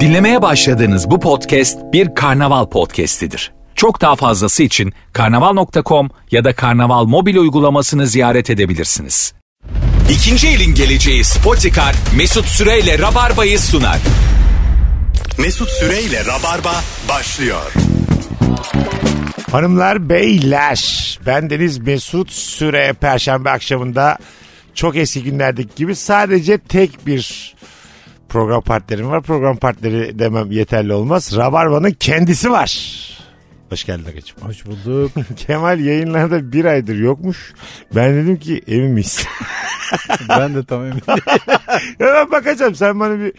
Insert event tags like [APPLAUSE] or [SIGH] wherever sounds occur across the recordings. Dinlemeye başladığınız bu podcast bir karnaval podcastidir. Çok daha fazlası için karnaval.com ya da karnaval mobil uygulamasını ziyaret edebilirsiniz. İkinci elin geleceği Spotikar Mesut Süreyle Rabarba'yı sunar. Mesut Süreyle Rabarba başlıyor. Hanımlar, beyler. Ben Deniz Mesut Süre Perşembe akşamında çok eski günlerdeki gibi sadece tek bir program partnerim var. Program partneri demem yeterli olmaz. Rabarba'nın kendisi var. Hoş geldin Agacığım. Hoş bulduk. [LAUGHS] Kemal yayınlarda bir aydır yokmuş. Ben dedim ki emin miyiz? [LAUGHS] [LAUGHS] ben de tam emin değilim. Hemen bakacağım. Sen bana bir,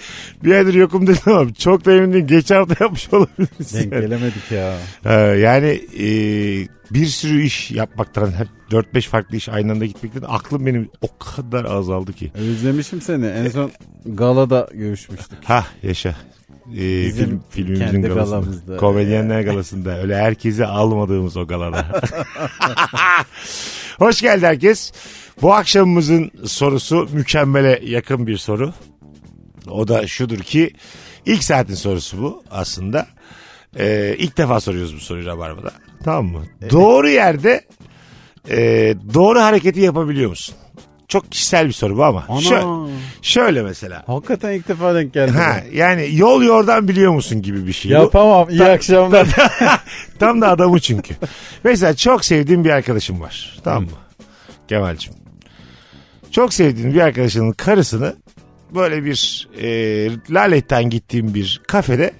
bir aydır yokum dedin ama çok da emin değilim. Geçen hafta yapmış olabilirsin. Denk gelemedik ya. Ee, yani e, bir sürü iş yapmaktan hep 4-5 farklı iş aynı anda gitmekten aklım benim o kadar azaldı ki. Özlemişim seni. En son galada görüşmüştük. Ha yaşa. Ee, Bizim film, filmimizin kendi galasında. galamızda. Komedyenler galasında. Öyle herkesi almadığımız o [LAUGHS] galada. Hoş geldi herkes. Bu akşamımızın sorusu mükemmele yakın bir soru. O da şudur ki ilk saatin sorusu bu aslında. Ee, ilk defa soruyoruz bu soruyu Rabarba'da. Tamam mı? Doğru yerde e, doğru hareketi yapabiliyor musun? Çok kişisel bir soru bu ama. Ana. Şö- şöyle mesela. Hakikaten ilk defa denk geldim. Ha, yani yol yordan biliyor musun gibi bir şey. Bu- Yapamam. İyi akşamlar. Tam da adamı çünkü. Mesela çok sevdiğim bir arkadaşım var. Tamam mı? Kemal'cim. Çok sevdiğin bir arkadaşının karısını böyle bir e, laletten gittiğim bir kafede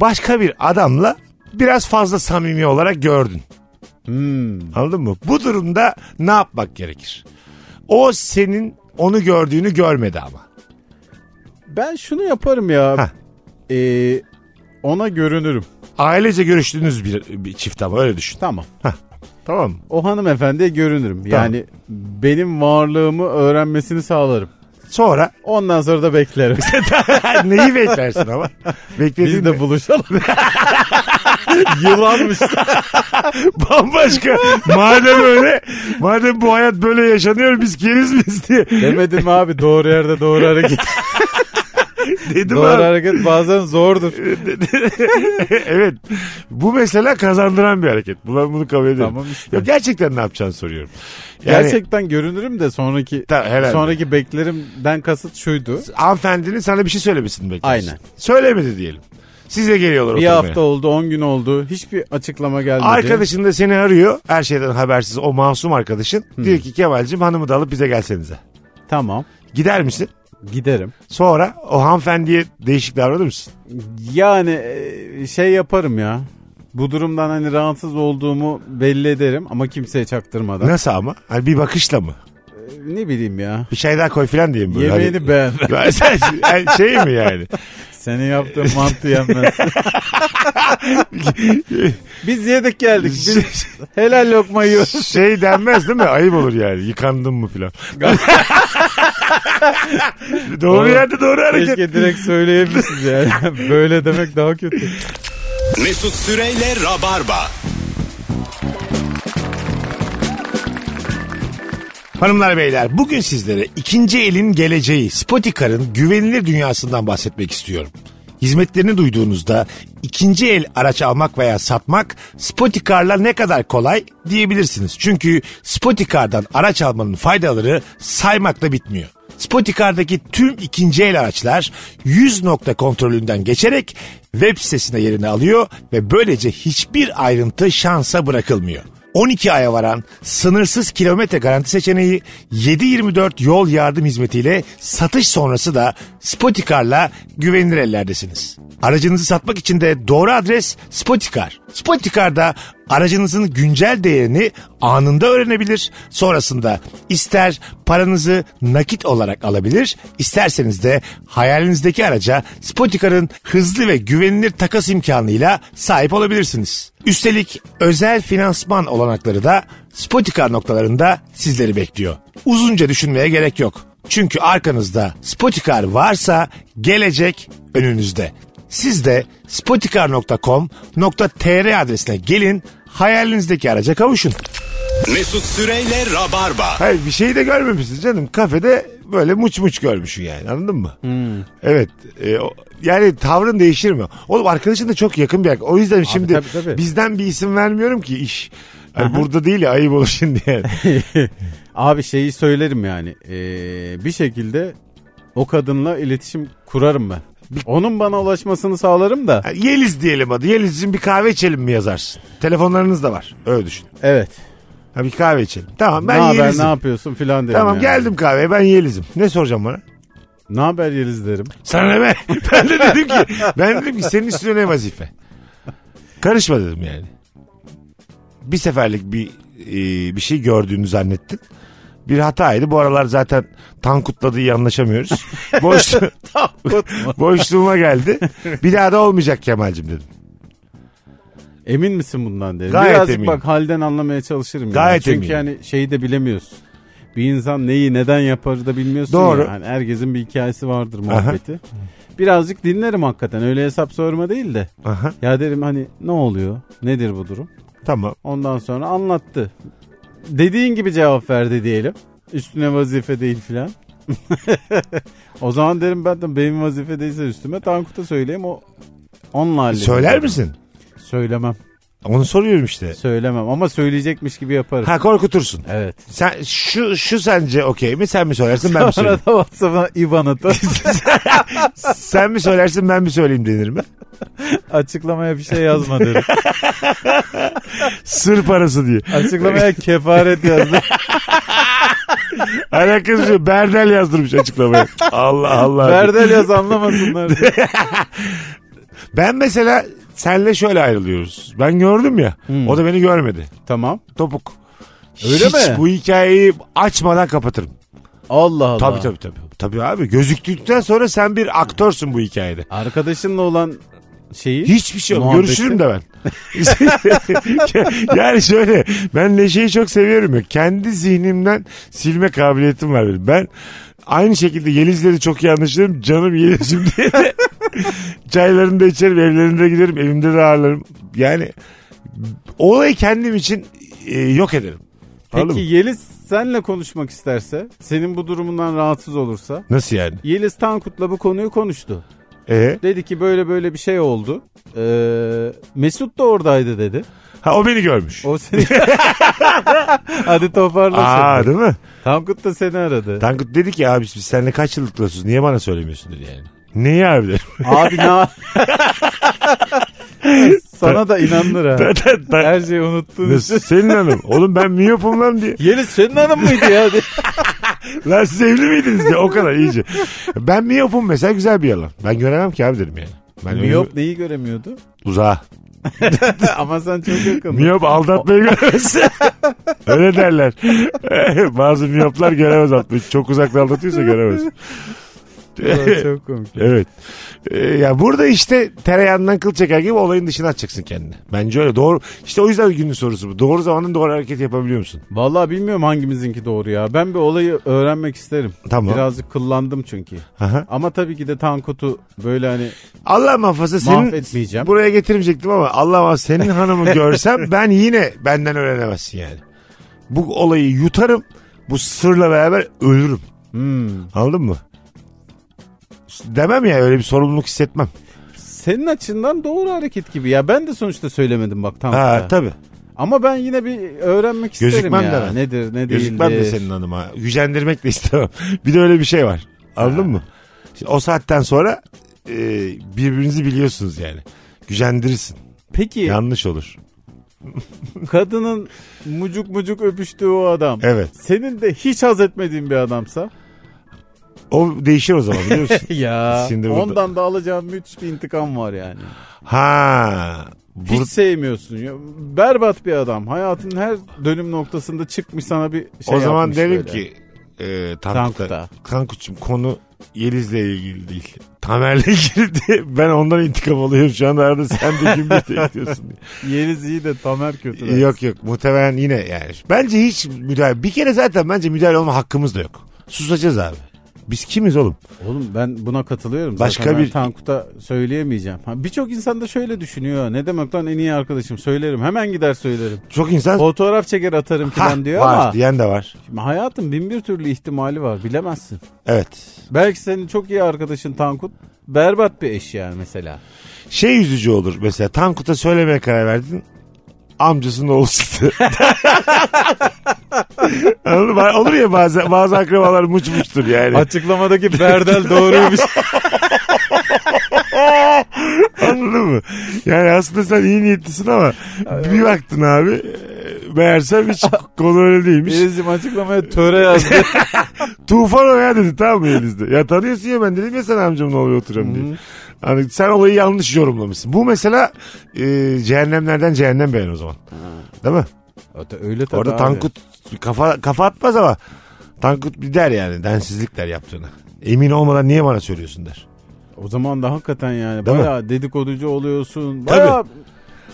başka bir adamla biraz fazla samimi olarak gördün. Hmm. Anladın mı? Bu durumda ne yapmak gerekir? O senin onu gördüğünü görmedi ama. Ben şunu yaparım ya. Ha. Ee, ona görünürüm. Ailece görüştüğünüz bir, bir çift ama öyle düşün. Tamam. Tamam mı? O hanımefendiye görünürüm. Yani benim varlığımı öğrenmesini sağlarım. Sonra Ondan sonra da beklerim. neyi beklersin ama? Beklediğin Biz ne? de buluşalım. [LAUGHS] Yılanmış. [LAUGHS] Bambaşka. madem öyle, madem bu hayat böyle yaşanıyor biz keriz biz diye. Demedim mi abi doğru yerde doğru hareket. Dedim doğru abi. hareket bazen zordur. evet. Bu mesela kazandıran bir hareket. Bu- Ben bunu kabul ediyorum. Tamam işte. Yok, gerçekten ne yapacağını soruyorum. Yani Gerçekten görünürüm de sonraki Ta- herhalde. sonraki beklerimden kasıt şuydu. hanımefendinin sana bir şey söylemesini bekliyorsun. Aynen. Söylemedi diyelim. Size geliyorlar Bir oturmaya. hafta oldu, 10 gün oldu. Hiçbir açıklama gelmedi. Arkadaşın da seni arıyor. Her şeyden habersiz o masum arkadaşın. Hmm. Diyor ki Kemal'cim hanımı da alıp bize gelsenize. Tamam. Gider misin? Giderim. Sonra o hanımefendiye değişik davranır mısın? Yani e, şey yaparım ya. Bu durumdan hani rahatsız olduğumu belli ederim ama kimseye çaktırmadan. Nasıl ama? Hani bir bakışla mı? E, Ne bileyim ya. Bir şey daha koy falan diyeyim böyle. Hani- [LAUGHS] Yemeğini beğen. Ya sen- yani şey mi yani? [LAUGHS] Senin yaptığın mantı yenmez. Biz yedik [LAUGHS] geldik. Biz helal lokma yiyoruz. Şey denmez değil mi? Ayıp olur yani. Yıkandın mı filan. [LAUGHS] doğru yerde doğru hareket. Keşke direkt söyleyebilirsiniz [LAUGHS] yani. Böyle demek daha kötü. Mesut Süreyle Rabarba. Hanımlar beyler bugün sizlere ikinci elin geleceği Spotikar'ın güvenilir dünyasından bahsetmek istiyorum. Hizmetlerini duyduğunuzda ikinci el araç almak veya satmak Spotikar'la ne kadar kolay diyebilirsiniz. Çünkü Spotikar'dan araç almanın faydaları saymakla bitmiyor. Spotikar'daki tüm ikinci el araçlar 100 nokta kontrolünden geçerek web sitesine yerini alıyor ve böylece hiçbir ayrıntı şansa bırakılmıyor. 12 aya varan sınırsız kilometre garanti seçeneği 7-24 yol yardım hizmetiyle satış sonrası da Spotikar'la güvenilir ellerdesiniz. Aracınızı satmak için de doğru adres Spotikar. Spotikar'da aracınızın güncel değerini anında öğrenebilir. Sonrasında ister paranızı nakit olarak alabilir, isterseniz de hayalinizdeki araca Spotikar'ın hızlı ve güvenilir takas imkanıyla sahip olabilirsiniz. Üstelik özel finansman olanakları da Spotikar noktalarında sizleri bekliyor. Uzunca düşünmeye gerek yok. Çünkü arkanızda Spotikar varsa gelecek önünüzde. Siz de spotikar.com.tr adresine gelin hayalinizdeki araca kavuşun. Mesut Süreyle Rabarba. Hayır bir şey de görmemişsin canım. Kafede böyle muç muç görmüşsün yani anladın mı? Evet. E, o- yani tavrın değişir mi? Oğlum arkadaşın da çok yakın bir arkadaş. O yüzden şimdi tabii, tabii. bizden bir isim vermiyorum ki iş. Hani burada değil ya ayıp olur şimdi [LAUGHS] yani. Abi şeyi söylerim yani. Ee, bir şekilde o kadınla iletişim kurarım ben. Onun bana ulaşmasını sağlarım da. Ha, Yeliz diyelim adı. Yeliz için bir kahve içelim mi yazarsın? Telefonlarınız da var. Öyle düşün. Evet. Ha, bir kahve içelim. Tamam ben ne haber Yeliz'im. ne yapıyorsun filan derim. tamam yani. geldim kahveye ben Yeliz'im. Ne soracağım bana? Ne haber Yeliz derim. Sana ne be? [LAUGHS] Ben de dedim ki ben dedim ki senin üstüne ne vazife? Karışma dedim yani. Bir seferlik bir e, bir şey gördüğünü zannettin. Bir hataydı. Bu aralar zaten tankutladığı iyi anlaşamıyoruz. [LAUGHS] Boşlu, [LAUGHS] boşluğuma geldi. Bir daha da olmayacak Kemal'cim dedim. Emin misin bundan derim. Gayet Birazcık eminim. bak halden anlamaya çalışırım. Gayet yani. Çünkü eminim. yani şeyi de bilemiyorsun. Bir insan neyi neden yapar da bilmiyorsun Doğru. ya. Yani herkesin bir hikayesi vardır muhabbeti. Birazcık dinlerim hakikaten. Öyle hesap sorma değil de. Aha, Ya derim hani ne oluyor? Nedir bu durum? tamam. Ondan sonra anlattı. Dediğin gibi cevap verdi diyelim. Üstüne vazife değil filan. [LAUGHS] o zaman derim ben de benim vazife değilse üstüme Tankut'a söyleyeyim o onunla hallederim. Söyler misin? Söylemem. Onu soruyorum işte. Söylemem ama söyleyecekmiş gibi yaparım. Ha korkutursun. Evet. Sen şu şu sence okey mi? Sen mi söylersin ben şey- mi Sonra da söyleyeyim? WhatsApp'a [LAUGHS] IBAN atar. Sen mi söylersin ben mi söyleyeyim denir mi? Açıklamaya bir şey yazma derim. Sır parası diye. Açıklamaya [LAUGHS] kefaret yazdı. Alakası yok. Berdel yazdırmış açıklamaya. Allah Allah. Berdel [LAUGHS] yaz anlamasınlar. diye. Ben mesela senle şöyle ayrılıyoruz. Ben gördüm ya. O da beni görmedi. tamam. Topuk. Hmm. Öyle Hiç mi? bu hikayeyi açmadan kapatırım. Allah Allah. Tabii tabii tabii. Tabii abi gözüktükten sonra sen bir aktörsün bu hikayede. Arkadaşınla olan şeyi. Hiçbir şey yok. Muhabbeti. Görüşürüm de ben. [LAUGHS] yani şöyle ben Neşe'yi çok seviyorum ya. Kendi zihnimden silme kabiliyetim var benim. Ben aynı şekilde Yelizleri çok iyi anlaşırım. Canım Yeliz'im [LAUGHS] diye de çaylarını da içerim, evlerine de giderim, evimde de ağırlarım. Yani olayı kendim için e, yok ederim. Anladın Peki mı? Yeliz senle konuşmak isterse, senin bu durumundan rahatsız olursa. Nasıl yani? Yeliz Tankut'la bu konuyu konuştu. Ee? Dedi ki böyle böyle bir şey oldu. Ee, Mesut da oradaydı dedi. Ha o beni görmüş. O seni... Hadi toparla. Aa şimdi. değil mi? Tankut da seni aradı. Tankut dedi ki abi biz seninle kaç yıllık dostuz niye bana söylemiyorsun dedi yani. Neyi abi [LAUGHS] dedim. Abi ne [LAUGHS] Sana da inanılır ha. Her şeyi unuttun. Nasıl? Senin hanım. Oğlum ben miyopum lan diye. Yeliz senin hanım mıydı ya? Lan siz evli miydiniz diye. O kadar iyice. Ben miyopum mesela güzel bir yalan. Ben göremem ki abi dedim yani. Ben Miyop neyi göremiyordu? Öyle, uzağa. Ama sen çok yakın. Miyop aldatmayı göremez. Öyle derler. [LAUGHS] Bazı miyoplar göremez atmayı. Çok uzakta aldatıyorsa göremez. çok komik. evet. Ee, ya burada işte tereyağından kıl çeker gibi olayın dışına atacaksın kendini. Bence öyle doğru. İşte o yüzden günün sorusu bu. Doğru zamanın doğru hareket yapabiliyor musun? Vallahi bilmiyorum hangimizinki doğru ya. Ben bir olayı öğrenmek isterim. Tamam. Birazcık kıllandım çünkü. Aha. Ama tabii ki de Tankut'u böyle hani Allah muhafaza senin Mahvetmeyeceğim. buraya getirmeyecektim ama Allah muhafaza senin hanımı [LAUGHS] görsem ben yine benden öğrenemezsin yani. Bu olayı yutarım. Bu sırla beraber ölürüm. Hmm. Anladın mı? Demem ya öyle bir sorumluluk hissetmem. senin açından doğru hareket gibi. Ya ben de sonuçta söylemedim bak Tankut'a. Ha tabii. Ama ben yine bir öğrenmek isterim Gözükmem ya. de ben. Nedir ne değildir. Gözükmem de senin hanıma. Gücendirmek de istemem. [LAUGHS] bir de öyle bir şey var. Anladın mı? İşte o saatten sonra e, birbirinizi biliyorsunuz yani. Gücendirirsin. Peki Yanlış olur. kadının mucuk mucuk öpüştüğü o adam. Evet. Senin de hiç haz etmediğin bir adamsa. O değişir o zaman biliyor [LAUGHS] musun? Ya Şimdi burada- ondan da alacağım müthiş bir intikam var yani. ha. Hiç Bur- sevmiyorsun. Ya. Berbat bir adam. Hayatın her dönüm noktasında çıkmış sana bir şey o zaman yapmış derim böyle. ki e, Tankut'a. Tankut'a. Tankut'cum konu Yeliz'le ilgili değil. Tamer'le ilgili diye. Ben ondan intikam alıyorum şu anda. Arada sen de kim [LAUGHS] bilir diyorsun. Yeliz iyi de Tamer kötü. diye. yok yok muhtemelen yine yani. Bence hiç müdahale. Bir kere zaten bence müdahale olma hakkımız da yok. Susacağız abi. Biz kimiz oğlum? Oğlum ben buna katılıyorum. Başka Zaten bir- ben Tankut'a söyleyemeyeceğim. Ha, Birçok insan da şöyle düşünüyor. Ne demek lan en iyi arkadaşım söylerim. Hemen gider söylerim. Çok insan Fotoğraf çeker atarım Ha, falan diyor var ama diyen de var. şimdi hayatın bin bir türlü ihtimali var. Bilemezsin. Evet. Belki senin çok iyi arkadaşın Tankut berbat bir eş yani mesela. Şey üzücü olur mesela Tankut'a söylemeye karar verdin. Amcasının oğlu çıktı. [LAUGHS] Anladın mı? Olur ya bazı, bazı akrabalar muç muçtur yani. Açıklamadaki [LAUGHS] Berdel doğruymuş. Anladın mı? Yani aslında sen iyi niyetlisin ama bir baktın abi e, meğersem hiç konu öyle değilmiş. Denizciğim açıklamaya töre yazdı. Tufan o ya dedi tamam mı elinizde? Ya tanıyorsun ya ben dedim ya sen amcamın oğlu oturuyorum diye. Hani sen olayı yanlış yorumlamışsın. Bu mesela e, cehennemlerden cehennem beğen o zaman. Değil mi? Öte- Öyle tabii Orada abi. Tankut kafa, kafa atmaz ama Tankut bir der yani densizlik der yaptığını. Emin olmadan niye bana söylüyorsun der. O zaman da hakikaten yani Değil mi? bayağı dedikoducu oluyorsun. Tabii. Bayağı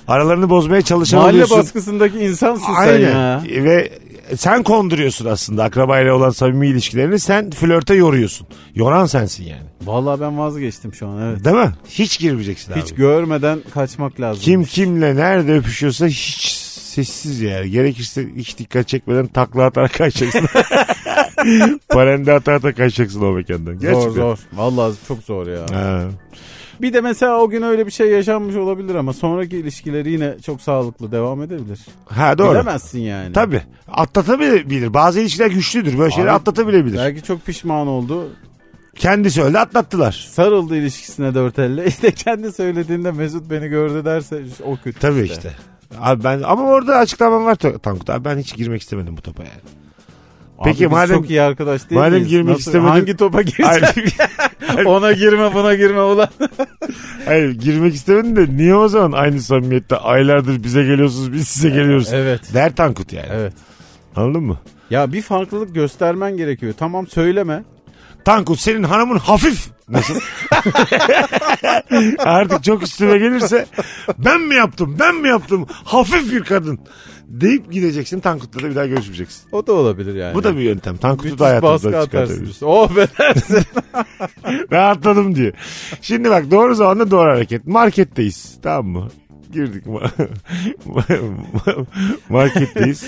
Aralarını bozmaya çalışan mahalle oluyorsun. baskısındaki insansın sen ya. Ve sen konduruyorsun aslında akrabayla olan samimi ilişkilerini. Sen flörte yoruyorsun. Yoran sensin yani. Vallahi ben vazgeçtim şu an evet. Değil mi? Hiç girmeyeceksin abi. Hiç görmeden kaçmak lazım. Kim kimle nerede öpüşüyorsa hiç sessiz yani. Gerekirse hiç dikkat çekmeden takla atarak [LAUGHS] kaçacaksın. Parende ata ata kaçacaksın o mekandan. Zor Gerçekten. zor. Vallahi çok zor ya. Ha. Bir de mesela o gün öyle bir şey yaşanmış olabilir ama sonraki ilişkileri yine çok sağlıklı devam edebilir. Ha doğru. Bilemezsin yani. Tabii. Atlatabilir. Bazı ilişkiler güçlüdür. Böyle şeyleri Abi, atlatabilebilir. Belki çok pişman oldu. Kendisi öldü atlattılar. Sarıldı ilişkisine dört elle. [LAUGHS] İşte kendi söylediğinde Mesut beni gördü derse o kötü. Tabii işte. Abi ben ama orada açıklamam var Ta- Tankut abi ben hiç girmek istemedim bu topa yani. Abi Peki biz madem- çok iyi arkadaş değil madem miyiz? girmek istemedin- Hangi [LAUGHS] topa [LAUGHS] gireceksin? Hayır, Ona girme buna [LAUGHS] girme ulan. hayır, girmek istemedin de niye o zaman aynı samimiyette aylardır bize geliyorsunuz biz size geliyoruz. Ee, evet. Der Tankut yani. Evet. Anladın mı? Ya bir farklılık göstermen gerekiyor. Tamam söyleme. Tankut senin hanımın hafif. [LAUGHS] Nasıl? Artık çok üstüme gelirse ben mi yaptım ben mi yaptım hafif bir kadın deyip gideceksin Tankut'la da bir daha görüşmeyeceksin. O da olabilir yani. Bu da bir yöntem. Tankut'u Müthiş da baskı hayatımızdan atarsın. çıkartabiliriz. üstüne. Oh be [LAUGHS] dersin. Rahatladım diye. Şimdi bak doğru zamanda doğru hareket. Marketteyiz. Tamam mı? Girdik. ma- ma- [LAUGHS] Marketteyiz.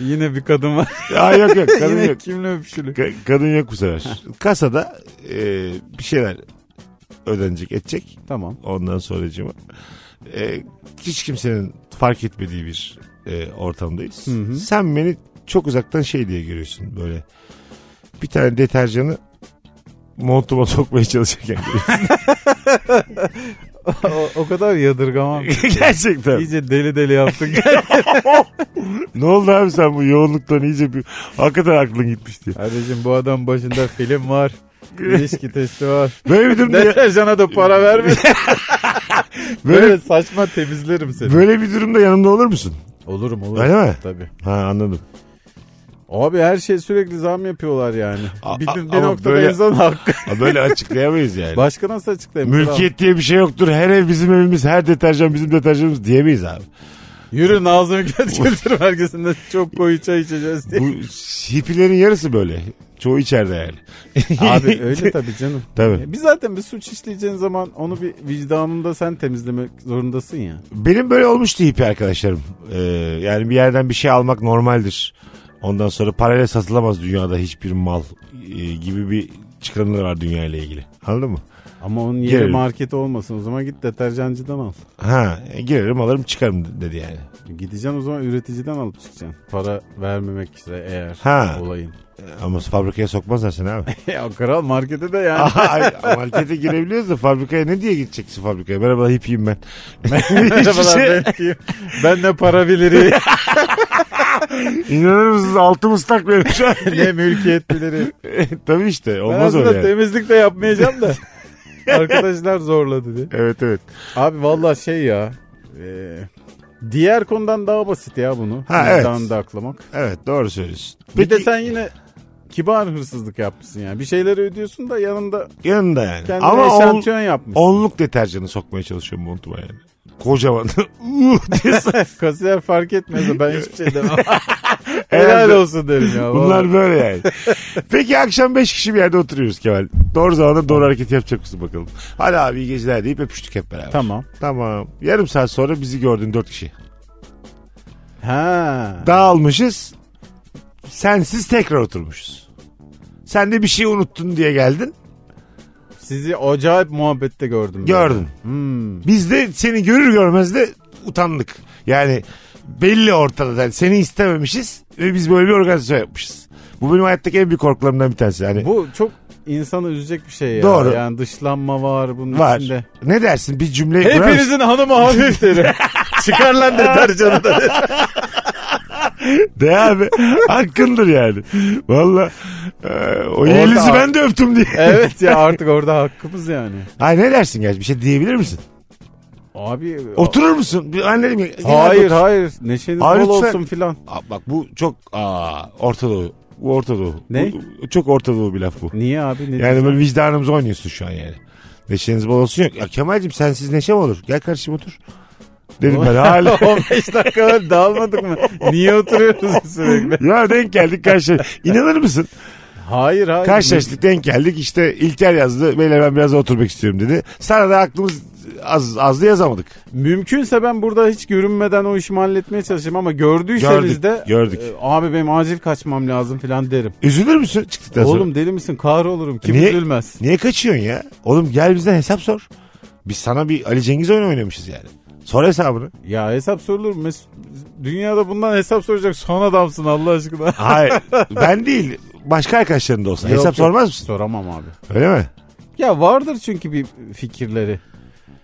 Yine bir kadın var. Aa, yok yok kadın Yine yok. kimle öpüşülü. Ka- kadın yok bu sefer. Kasada e, bir şeyler ödenecek edecek. Tamam. Ondan sonracığıma. E, hiç kimsenin fark etmediği bir e, ortamdayız. Sen beni çok uzaktan şey diye görüyorsun böyle. Bir tane deterjanı montuma [LAUGHS] sokmaya çalışırken O, o kadar yadırgamam. [LAUGHS] Gerçekten. İyice deli deli yaptın. [LAUGHS] ne oldu abi sen bu yoğunluktan iyice bir... Hakikaten aklın gitmiş diye. [LAUGHS] Kardeşim bu adam başında [LAUGHS] film var. İlişki testi var. Böyle bir durumda, Deterjana da para verme. [LAUGHS] böyle, Böyle saçma temizlerim seni. böyle bir durumda yanımda olur musun? Olurum olurum. Öyle mi? Tabii. Ha anladım. Abi her şey sürekli zam yapıyorlar yani. [LAUGHS] A- bir, a- bir ama noktada böyle- [LAUGHS] insan hakkı. Ha, böyle açıklayamayız yani. Başka nasıl açıklayayım? Mülkiyet diye bir şey yoktur. Her ev bizim evimiz, her deterjan bizim deterjanımız diyemeyiz abi. Yürü Nazım Hikmet Kültür Merkezi'nde çok koyu çay içeceğiz [LAUGHS] diye. Bu hippilerin yarısı böyle. Çoğu içeride yani. [LAUGHS] [LAUGHS] Abi öyle tabii canım. Tabii. Ya Biz zaten bir suç işleyeceğin zaman onu bir vicdanında sen temizlemek zorundasın ya. Benim böyle olmuştu hippi arkadaşlarım. Ee, yani bir yerden bir şey almak normaldir. Ondan sonra parayla satılamaz dünyada hiçbir mal e, gibi bir çıkarımlar var dünya ile ilgili. Anladın mı? Ama onun yeri Gelelim. market olmasın. O zaman git deterjancıdan al. Ha e, girerim alırım çıkarım dedi yani. Gideceksin o zaman üreticiden alıp çıkacaksın. Para vermemek ise eğer Ha. olayın. [LAUGHS] Ama fabrikaya sokmazlar seni abi. ya kral markete de yani. [LAUGHS] Ay, Markete girebiliyoruz da fabrikaya ne diye gideceksin fabrikaya? Merhaba hippiyim ben. Hiçbir [LAUGHS] Merhabalar şey- ben kim? ben ne [LAUGHS] para bilirim İnanır mısınız altım ıslak benim şu an. [LAUGHS] ne mülkiyetlileri. Tabii işte Ben olmaz aslında öyle yani. temizlik de yapmayacağım [LAUGHS] da. Arkadaşlar zorladı diye. Evet evet. Abi vallahi şey ya. e, diğer konudan daha basit ya bunu. Ha, evet. Vicdanını da aklamak. Evet doğru söylüyorsun. Bir de sen yine kibar hırsızlık yapmışsın yani. Bir şeyleri ödüyorsun da yanında yanında yani. kendine Ama on, eşantiyon yapmışsın. [LAUGHS] onluk deterjanı sokmaya çalışıyorum montuma yani. Kocaman. [LAUGHS] Uh, diye sok- [LAUGHS] Kasiyer fark etmez de ben hiçbir şey demem. Helal olsun derim ya. Bunlar böyle [LAUGHS] yani. Peki akşam 5 kişi bir yerde oturuyoruz Kemal. Doğru zamanda doğru hareket yapacak mısın bakalım. Hadi abi iyi geceler deyip öpüştük hep beraber. Tamam. Tamam. Yarım saat sonra bizi gördün 4 kişi. Ha. Dağılmışız. Sensiz tekrar oturmuşuz. Sen de bir şey unuttun diye geldin. Sizi acayip muhabbette gördüm. ben. Gördün. Hmm. Biz de seni görür görmez de utandık. Yani belli ortada. Yani seni istememişiz ve biz böyle bir organizasyon yapmışız. Bu benim hayattaki en büyük korkularımdan bir tanesi. Yani Bu çok insanı üzecek bir şey ya. Doğru. Yani dışlanma var bunun var. içinde. Ne dersin bir cümle kurar [LAUGHS] mısın? [LAUGHS] Hepinizin hanımı hafif derim. Çıkar lan deterjanı da. De abi. Hakkındır yani. Valla. e, o Orada- yelizi ben de öptüm diye. Evet ya artık orada hakkımız yani. [LAUGHS] Ay ne dersin gerçi bir şey diyebilir misin? Abi Oturur musun? Bir Annelim ya. genelde Hayır otur. hayır neşeniz Hayır, bol lütfen. olsun filan. Aa, bak bu çok aa, Orta Doğu. Bu Orta Doğu. Ne? Bu- çok Orta Doğu bir laf bu. Niye abi ne Yani diyeceğim? böyle vicdanımızı oynuyorsun şu an yani. Neşeniz bol olsun yok. Ya Kemal'cim sensiz neşe mi olur? Gel kardeşim otur. Dedim ben hala. [LAUGHS] 15 dakikalar dağılmadık mı? Niye oturuyoruz [LAUGHS] sürekli? ya denk geldik karşı. İnanır mısın? Hayır hayır. Karşılaştık denk geldik işte İlker yazdı. Beyler ben biraz daha oturmak istiyorum dedi. Sana da aklımız az, azdı yazamadık. Mümkünse ben burada hiç görünmeden o işimi halletmeye çalışayım ama gördüyseniz Gördük, de gördük. e, abi benim acil kaçmam lazım filan derim. Üzülür müsün çıktıktan sonra? Oğlum deli misin? Kahrolurum. Kim Niye- üzülmez? Niye kaçıyorsun ya? Oğlum gel bizden hesap sor. Biz sana bir Ali Cengiz oyunu oynamışız yani. Sor hesabını. Ya hesap sorulur mu? Mes- Dünyada bundan hesap soracak son adamsın Allah [LAUGHS] aşkına. Hayır ben değil başka arkadaşların da olsa. Yok, hesap yok. sormaz mısın? Soramam abi. Öyle mi? Ya vardır çünkü bir fikirleri.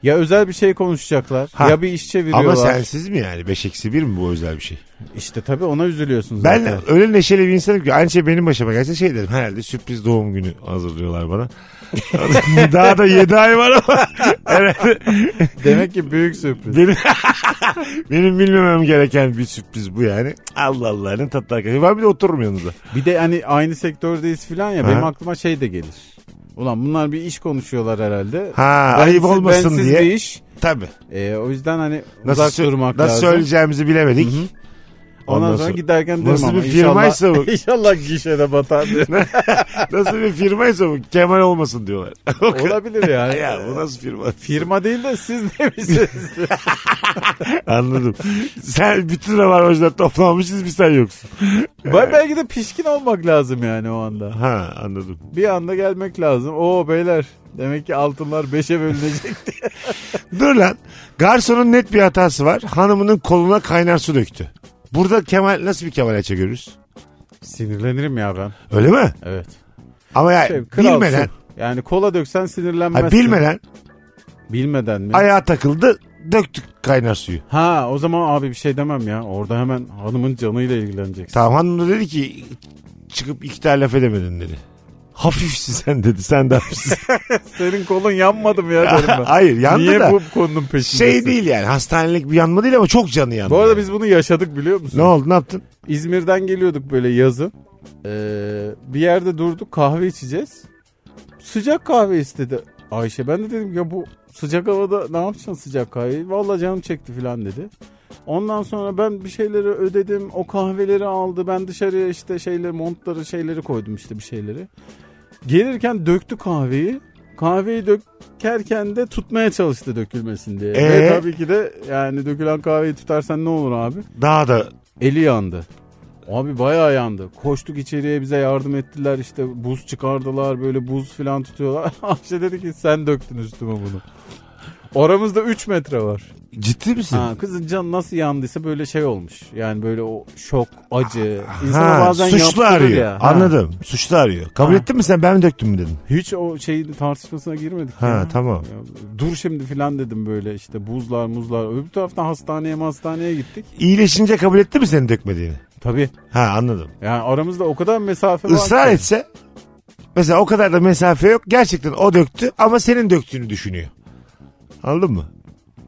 Ya özel bir şey konuşacaklar. Ha. Ya bir iş çeviriyorlar. Ama sensiz mi yani? 5 eksi 1 mi bu özel bir şey? İşte tabii ona üzülüyorsun Ben [LAUGHS] zaten. öyle neşeli bir insanım ki aynı şey benim başıma gelse şey derim. Herhalde sürpriz doğum günü hazırlıyorlar [LAUGHS] bana. Daha da 7 ay var ama herhalde Demek ki büyük sürpriz. benim, [LAUGHS] benim bilmemem gereken bir sürpriz bu yani. Allah Allah ne tatlı arkadaşım. Ben bir de otururum yanınıza. Bir de hani aynı sektördeyiz filan ya benim Ha. aklıma şey de gelir. Ulan bunlar bir iş konuşuyorlar herhalde. Ha ayıp Bensiz- olmasın bensiz diye. bir iş. Tabii. Ee, o yüzden hani Nasıl, uzak sö- durmak nasıl lazım. söyleyeceğimizi bilemedik. Ondan, Ondan sonra, sonra- giderken derim Nasıl ama bir firmaysa bu? inşallah, [LAUGHS] inşallah gişede batar derim. Nasıl bir firmaysa bu Kemal olmasın [LAUGHS] diyorlar. [LAUGHS] Olabilir yani. ya bu nasıl firma? Firma değil de siz [LAUGHS] demişsiniz. Anladım. Sen bütün rabarmacılar toplanmışız bir sen yoksun. Ben belki de pişkin olmak lazım yani o anda. Ha anladım. Bir anda gelmek lazım. Oo beyler demek ki altınlar [LAUGHS] beşe bölünecek. Dur lan. Garsonun net bir hatası var. Hanımının koluna kaynar su döktü. Burada Kemal nasıl bir Kemal Ayça görürüz? Sinirlenirim ya ben. Öyle mi? Evet. Ama yani Şey, kralsın. bilmeden, Yani kola döksen sinirlenmezsin. ha, bilmeden Bilmeden mi? ayağa takıldı döktük kaynar suyu. ha o zaman abi bir şey demem ya. Orada hemen hanımın canıyla ilgileneceksin. Tamam hanım da dedi ki çıkıp iki tane laf edemedin dedi. Hafifsin sen dedi sen de [LAUGHS] hafifsin. Senin kolun yanmadı mı ya derim [LAUGHS] ben. Hayır yandı Niye da. bu konunun peşindesin? Şey değil yani hastanelik bir yanma değil ama çok canı yandı. Bu arada yani. biz bunu yaşadık biliyor musun? Ne oldu ne yaptın? İzmir'den geliyorduk böyle yazın. Ee, bir yerde durduk kahve içeceğiz. Sıcak kahve istedi Ayşe. Ben de dedim ya bu sıcak havada ne yapacaksın sıcak kahveyi? Vallahi canım çekti falan dedi. Ondan sonra ben bir şeyleri ödedim. O kahveleri aldı. Ben dışarıya işte şeyleri montları şeyleri koydum işte bir şeyleri. Gelirken döktü kahveyi. Kahveyi dökerken de tutmaya çalıştı dökülmesin diye. Ve Ee? tabii ki de yani dökülen kahveyi tutarsan ne olur abi? Daha da Eli yandı. Abi bayağı yandı. Koştuk içeriye bize yardım ettiler işte buz çıkardılar böyle buz filan tutuyorlar. [LAUGHS] Ayşe dedi ki sen döktün üstüme bunu. Oramızda 3 metre var. ciddi misin? Ha, kızın can nasıl yandıysa böyle şey olmuş. Yani böyle o şok, acı. Ha, İnsana bazen suçlu yaptırır arıyor. ya. Ha. Anladım. Suçlu arıyor. Kabul Ha. ettin mi sen ben mi döktüm mü dedim. Hiç o şeyin tartışmasına girmedik. Ha, ya. tamam. Ya, dur şimdi filan dedim böyle işte buzlar muzlar. Öbür taraftan hastaneye hastaneye gittik. İyileşince kabul etti mi senin dökmediğini? Tabii. Ha anladım. Yani aramızda o kadar mesafe var. Israr ki. etse mesela o kadar da mesafe yok. Gerçekten o döktü ama senin döktüğünü düşünüyor. Anladın mı?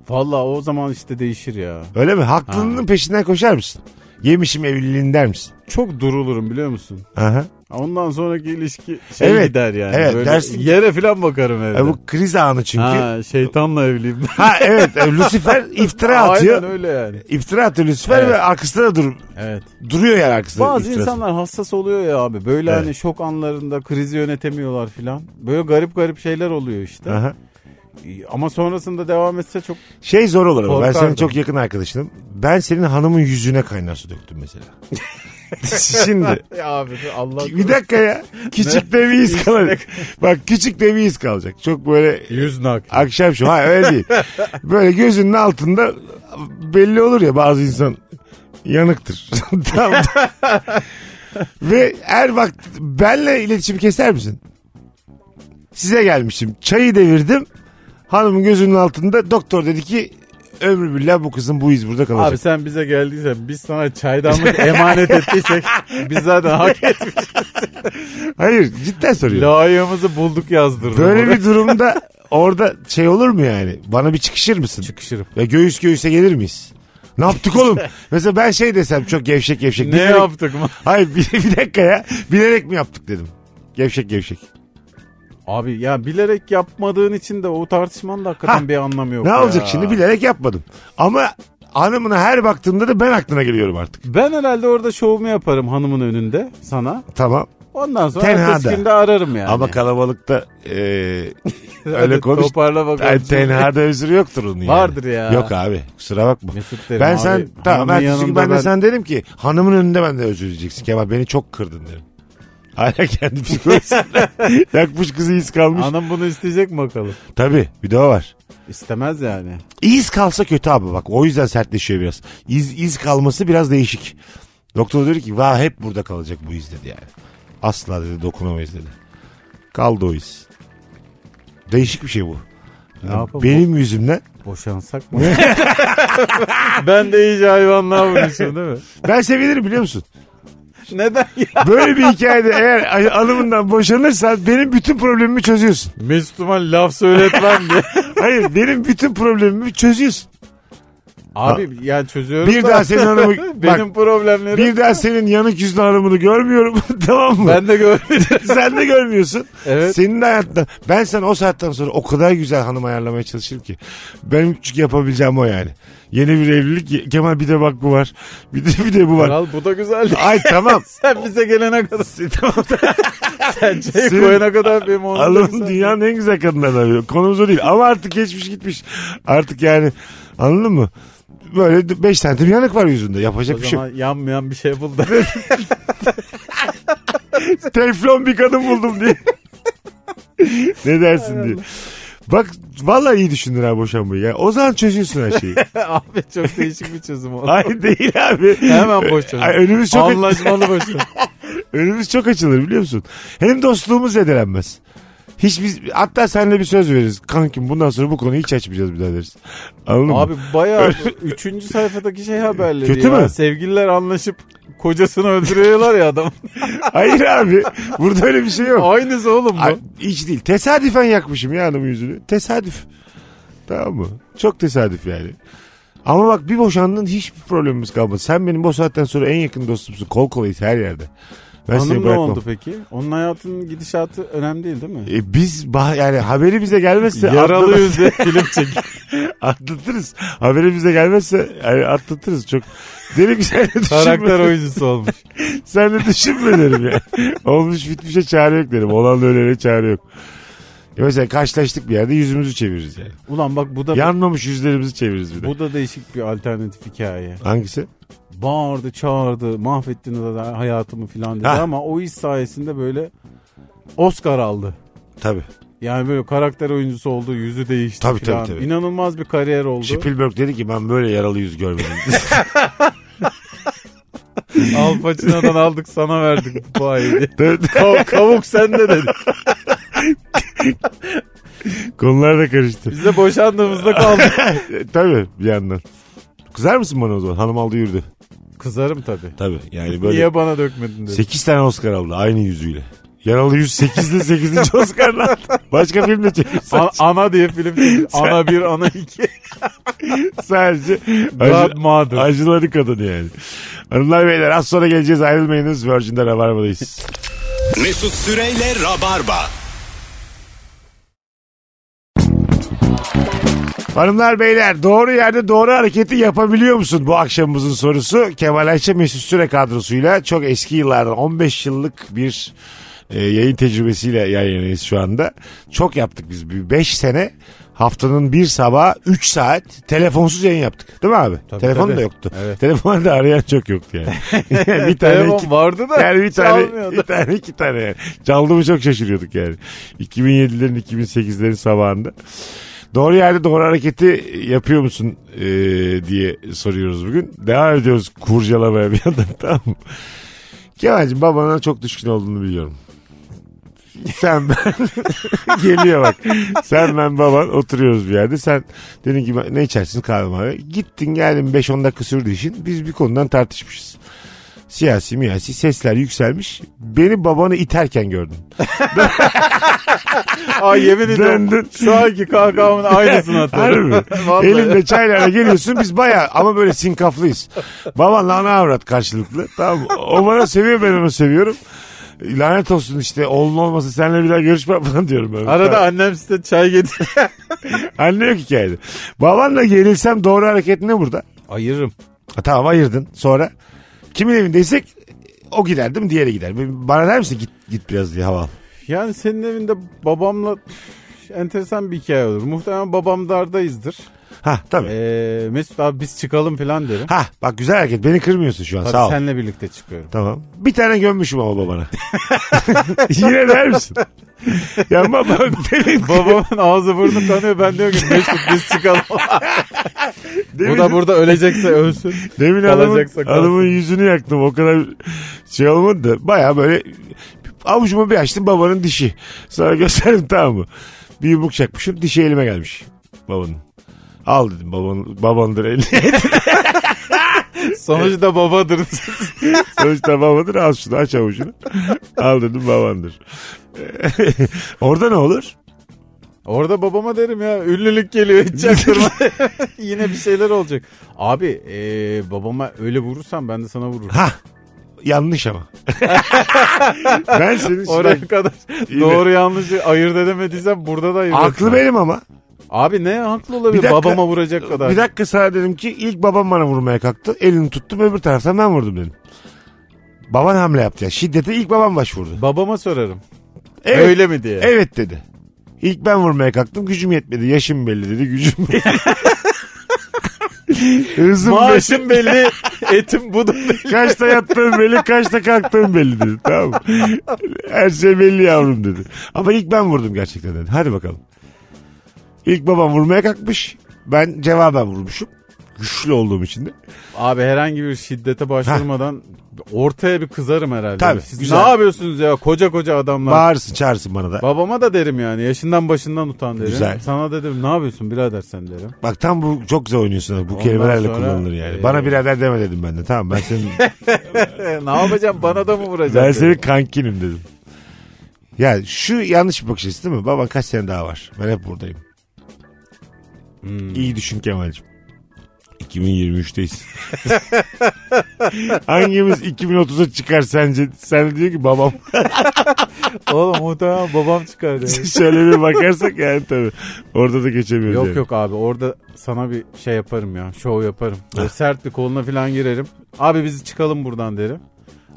Valla o zaman işte değişir ya. Öyle mi? Haklılığının peşinden koşar mısın? Yemişim evliliğin der misin? Çok durulurum biliyor musun? Aha. Ondan sonraki ilişki şey Evet. gider yani. Evet, Böyle dersin ki- Yere falan bakarım evde. E bu kriz anı çünkü. Ha, Ha, şeytanla evliyim. [LAUGHS] ben. evet e, Lucifer [LAUGHS] iftira atıyor. Aynen öyle yani. İftira atıyor Lucifer Evet. ve arkasında da dur, Evet. duruyor yani arkasında. Bazı iftirası. insanlar hassas oluyor ya abi. Böyle Evet. hani şok anlarında krizi yönetemiyorlar filan. Böyle garip garip şeyler oluyor işte. Aha. Ama sonrasında devam etse çok Şey zor olur ama ben Korkardım. senin çok yakın arkadaşınım. Ben senin hanımın yüzüne kaynar su döktüm mesela. Şimdi Ya abi Allah bir dakika ya. Küçük de bir iz kalacak. Bak küçük de bir iz kalacak. Çok böyle yüz nak. Akşam şu. Hayır öyle değil. Böyle gözünün altında belli olur ya bazı insan yanıktır. [LAUGHS] tamam. Ve her vakit benle iletişim keser misin? Size gelmişim. Çayı devirdim. Hanımın gözünün altında doktor dedi ki ömrü billah bu kızın bu iz burada kalacak. Abi sen bize geldiysen biz sana çaydanlık emanet ettiysek biz zaten hak etmiş. Hayır cidden soruyorum. Layığımızı bulduk yazdırdım. Böyle bir durumda orada şey olur mu yani? Bana bir çıkışır mısın? [LAUGHS] çıkışırım. Ya göğüs göğüse gelir miyiz? Ne yaptık [LAUGHS] oğlum? Mesela ben şey desem çok gevşek gevşek. Ne Bilerek- yaptık mı? Hayır bir, bir dakika ya. Bilerek mi yaptık dedim. Gevşek gevşek. Abi ya bilerek yapmadığın için de o tartışmanın da hakikaten Ha, bir anlamı yok. ne ya. olacak şimdi bilerek yapmadım. Ama hanımına her baktığımda da ben aklına geliyorum artık. Ben herhalde orada şovumu yaparım hanımın önünde sana. Tamam. Ondan sonra Tenha'da. ertesi günde ararım yani. Ama kalabalıkta eee [LAUGHS] öyle Hadi konuş. Toparla bakalım. Ay, tenhada özür yoktur onun yani. Vardır ya. Yok abi kusura bakma. Mesut derim Ben abi, sen tamam hanımın ertesi gün yanında ben de ben- sen derim ki hanımın önünde ben de özür dileyeceksin Kemal beni çok kırdın derim. Hala kendi [LAUGHS] psikolojisine yakmış kızı iz kalmış. [LAUGHS] Hanım bunu isteyecek mi bakalım? Tabii bir de o var. İstemez yani. İz kalsa kötü abi bak. O yüzden sertleşiyor biraz. İz, iz kalması biraz değişik. Doktor dedi ki va hep burada kalacak bu iz dedi yani. Asla dedi dokunamayız dedi. Kaldı o iz. Değişik bir şey bu. Ne yapalım? Benim yüzümden. [LAUGHS] Boşansak mı? ben de iyice hayvanlığa vurmuşum değil mi? Ben sevinirim biliyor musun? Neden ya? Böyle bir hikayede eğer ay- hanımından boşanırsan benim bütün problemimi çözüyorsun. Mesut'uma laf söyletmem diye. [LAUGHS] Hayır benim bütün problemimi çözüyorsun. Abi yani çözüyorum Bir da daha senin hanımı... [LAUGHS] benim Bak, problemlerim. bir daha senin yanık yüzlü hanımını görmüyorum [LAUGHS] tamam mı? Ben [LAUGHS] de görmedim. Sen de görmüyorsun. Evet. Senin de hayatında ben sen o saatten sonra o kadar güzel hanım ayarlamaya çalışırım ki. Benim çünkü yapabileceğim o yani. Yeni bir evlilik Kemal bir de bak bu var. Bir de bir de bu var. Kral bu da güzeldi. Ay tamam. Sen bize [LAUGHS] gelene kadar. [LAUGHS] Sen çayı Senin- koyana kadar benim onu Allah'ım dünyanın en güzel kadınlarını arıyor. Konumuz o değil ama artık geçmiş gitmiş. Artık yani anladın mı? Böyle 5 santim yanık var yüzünde. Yapacak O bir şey yok. zaman yanmayan bir [LAUGHS] şey buldu. Teflon bir kadın buldum [LAUGHS] diye. ne dersin diye. Bak vallahi iyi düşündün ha boşanmayı. Yani o zaman çözüyorsun her [LAUGHS] şeyi. Abi çok değişik bir çözüm oldu. Hayır değil abi. Hemen boşanın. Ay, önümüz çok [LAUGHS] Anlaşmalı boşanın. önümüz çok açılır biliyor musun? Hem dostluğumuz zedelenmez. Hiç biz hatta seninle bir söz veririz. Kankim bundan sonra bu konuyu hiç açmayacağız bir daha deriz. Anladın mı? Abi bayağı üçüncü sayfadaki şey haberleri Kötü ya. mü? Sevgililer anlaşıp kocasını öldürüyorlar [LAUGHS] ya adam. Hayır abi. Burada öyle bir şey yok. Aynısı oğlum bu. Ay, hiç değil. Tesadüfen yakmışım ya adamın yüzünü. Tesadüf. Tamam mı? Çok tesadüf yani. Ama bak bir boşandın hiçbir problemimiz kalmadı. Sen benim bu saatten sonra en yakın dostumsun. Kol kolayız her yerde. Ben seni Hanım ne bırakmam. oldu peki? Onun hayatının gidişatı önemli değil değil mi? E biz bah- yani haberi bize gelmezse Yaralı atlatırız. yüzle [LAUGHS] film çek. [LAUGHS] atlatırız. Haberi bize gelmezse yani atlatırız çok. şey Derim ki sen de düşünme. Karakter oyuncusu olmuş. Sen de düşünme derim ya. [LAUGHS] Olmuş bitmişe çare yok derim. Olan öyle öyle çare yok. E mesela karşılaştık bir yerde yüzümüzü çeviririz yani. Ulan bak bu da Yanmamış yüzlerimizi çeviririz bir de. bu da değişik bir alternatif hikaye. Hangisi? Bağırdı, çağırdı, mahvettin da hayatımı filan dedi Ha. ama o iş sayesinde böyle Oscar aldı. Tabii. Yani böyle karakter oyuncusu oldu, yüzü değişti Tabii, tabii, filan. tabii. İnanılmaz bir kariyer oldu. Spielberg dedi ki ben böyle yaralı yüz görmedim. Al [LAUGHS] Pacino'dan aldık sana verdik bu [LAUGHS] payı. [LAUGHS] Tabii, Kav, kavuk sende dedi. Konular da karıştı. Biz de boşandığımızda kaldık. E, [LAUGHS] Tabii bir yandan. Kızar mısın bana o zaman? Hanım aldı yürüdü. Kızarım tabii. Tabii yani böyle. Niye bana dökmedin dedi. 8 tane Oscar aldı aynı yüzüyle. Yaralı yüz 8'de [LAUGHS] 8. Oscar'la aldı. Başka film de çekilse Ana, ana diye film [LAUGHS] çekti. Ana bir, ana iki. sadece acı, Godmother. acıları kadın yani. Hanımlar beyler az sonra geleceğiz ayrılmayınız. Virgin'de Rabarba'dayız. Mesut Süreyle Rabarba. Hanımlar beyler doğru yerde doğru hareketi yapabiliyor musun? Bu akşamımızın sorusu Kemal Ayça Mesut Süre kadrosuyla çok eski yıllardan 15 yıllık bir e, yayın tecrübesiyle yayınlayız şu anda. Çok yaptık biz. 5 sene haftanın bir sabah 3 saat telefonsuz yayın yaptık. Değil mi abi? Tabii, Telefon da tabii. yoktu. Evet. Telefonu da arayan çok yoktu yani. [LAUGHS] bir tane Telefon iki- vardı da yani bir tane, [LAUGHS] çalmıyordu. bir tane iki tane yani. Çaldı mı çok şaşırıyorduk yani. 2007'lerin 2008'lerin sabahında. Doğru yerde doğru hareketi yapıyor musun e, diye soruyoruz bugün. Devam ediyoruz kurcalamaya bir yandan [LAUGHS] tamam mı? Kemal'cim babana çok düşkün olduğunu biliyorum. Sen ben [LAUGHS] geliyor bak. Sen ben baban oturuyoruz bir yerde. Sen dedin ki ne içersin kahve mavi. Gittin geldin 5-10 dakika sürdü işin. Biz bir konudan tartışmışız siyasi miyasi sesler yükselmiş. Beni babanı iterken gördüm. Ay yemin Döndün. ediyorum. Şu anki [LAUGHS] kahkahamın aynısını Harbi atıyorum. mi? [LAUGHS] Vallahi. Elinde çaylarla geliyorsun biz baya ama böyle sinkaflıyız. Babanla ana avrat karşılıklı. Tamam mı? O bana seviyor ben onu seviyorum. Lanet olsun işte oğlun olmasa seninle bir daha görüşme falan diyorum ben. Arada annem size [LAUGHS] çay getir. Anne yok hikayede. Babanla gerilsem doğru hareket ne burada? Ayırırım. Ha, tamam ayırdın sonra. Kimin evindeysek o gider değil mi? Diğeri gider. Bana der misin git, git biraz diye hava al. Yani senin evinde babamla enteresan bir hikaye olur. Muhtemelen babam dardayızdır. Ha tabii. Ee, Mesut abi biz çıkalım falan derim. Ha bak güzel hareket. Beni kırmıyorsun şu an. Tabii Sağ ol. senle birlikte çıkıyorum. [LAUGHS] Tamam. Bir tane gömmüşüm ama babana. [LAUGHS] Yine der misin? ya baba demin, Babamın ağzı burnu kanıyor. Ben diyorum ki Mesut biz çıkalım. demin, Bu da burada ölecekse ölsün. demin adamın, kalacaksa kalsın. adamın yüzünü yaktım. O kadar şey olmadı da. Baya böyle avucumu bir açtım babanın dişi. Sana gösterdim tamam mı? Bir yumruk çakmışım dişi elime gelmiş. Babanın. Al dedim baban, babandır elini. Sonucu da babadır. [LAUGHS] [LAUGHS] Sonuçta babadır al şunu aç avucunu. Al dedim babandır. [LAUGHS] Orada ne olur? Orada babama derim ya ünlülük geliyor hiç çaktırma. [LAUGHS] Yine bir şeyler olacak. Abi ee, babama öyle vurursan ben de sana vururum. Ha yanlış ama. [LAUGHS] ben senin [LAUGHS] Oraya sürekli- kadar İyi doğru yanlışı ayırt edemediysen burada da ayırt Aklı etme. benim ama. Abi ne haklı Bir olabilir dakika. babama vuracak kadar. Bir dakika sana dedim ki ilk babam bana vurmaya kalktı. Elini tuttum öbür taraftan ben vurdum dedim. Baban hamle yaptı ya. Şiddete ilk babam başvurdu. Babama sorarım. Evet, Öyle mi diye. evet dedi. İlk ben vurmaya kalktım gücüm yetmedi. Yaşım belli dedi gücüm [LAUGHS] belli. Hızım belli. [LAUGHS] Maaşım belli, etim budum belli. Kaçta yattığım belli, kaçta kalktığım belli dedi. Tamam mı? Her şey belli yavrum dedi. Ama ilk ben vurdum gerçekten dedi. Hadi bakalım. İlk babam vurmaya kalkmış. Ben cevaben vurmuşum. Güçlü olduğum için de. Abi herhangi bir şiddete başvurmadan ortaya bir kızarım herhalde. Tabii, Siz güzel. ne yapıyorsunuz ya koca koca adamlar. Bağırsın çağırsın bana da. Babama da derim yani yaşından başından utan derim. Güzel. Sana da derim ne yapıyorsun birader sen derim. Bak tam bu çok güzel oynuyorsun. ha. Bu Ondan kelimelerle sonra, kullanılır yani. e, Bana birader deme dedim ben de. Tamam ben senin, E, ne yapacağım bana da mı ben vuracaksın? senin kankinim dedim. Ya şu yanlış bir bakış açısı değil mi? Baban kaç sene daha var. Ben hep buradayım. Hmm. İyi düşün Kemal'cim. 2023'teyiz. [LAUGHS] Hangimiz 2030'a çıkar sence? Sen de diyor ki babam. [LAUGHS] Oğlum muhtemelen babam çıkar derim. Şöyle bir bakarsak yani tabii. Orada da geçemiyoruz yok yani. yok abi orada sana bir şey yaparım ya şov yaparım. Böyle sert bir koluna falan girerim. Abi biz çıkalım buradan derim.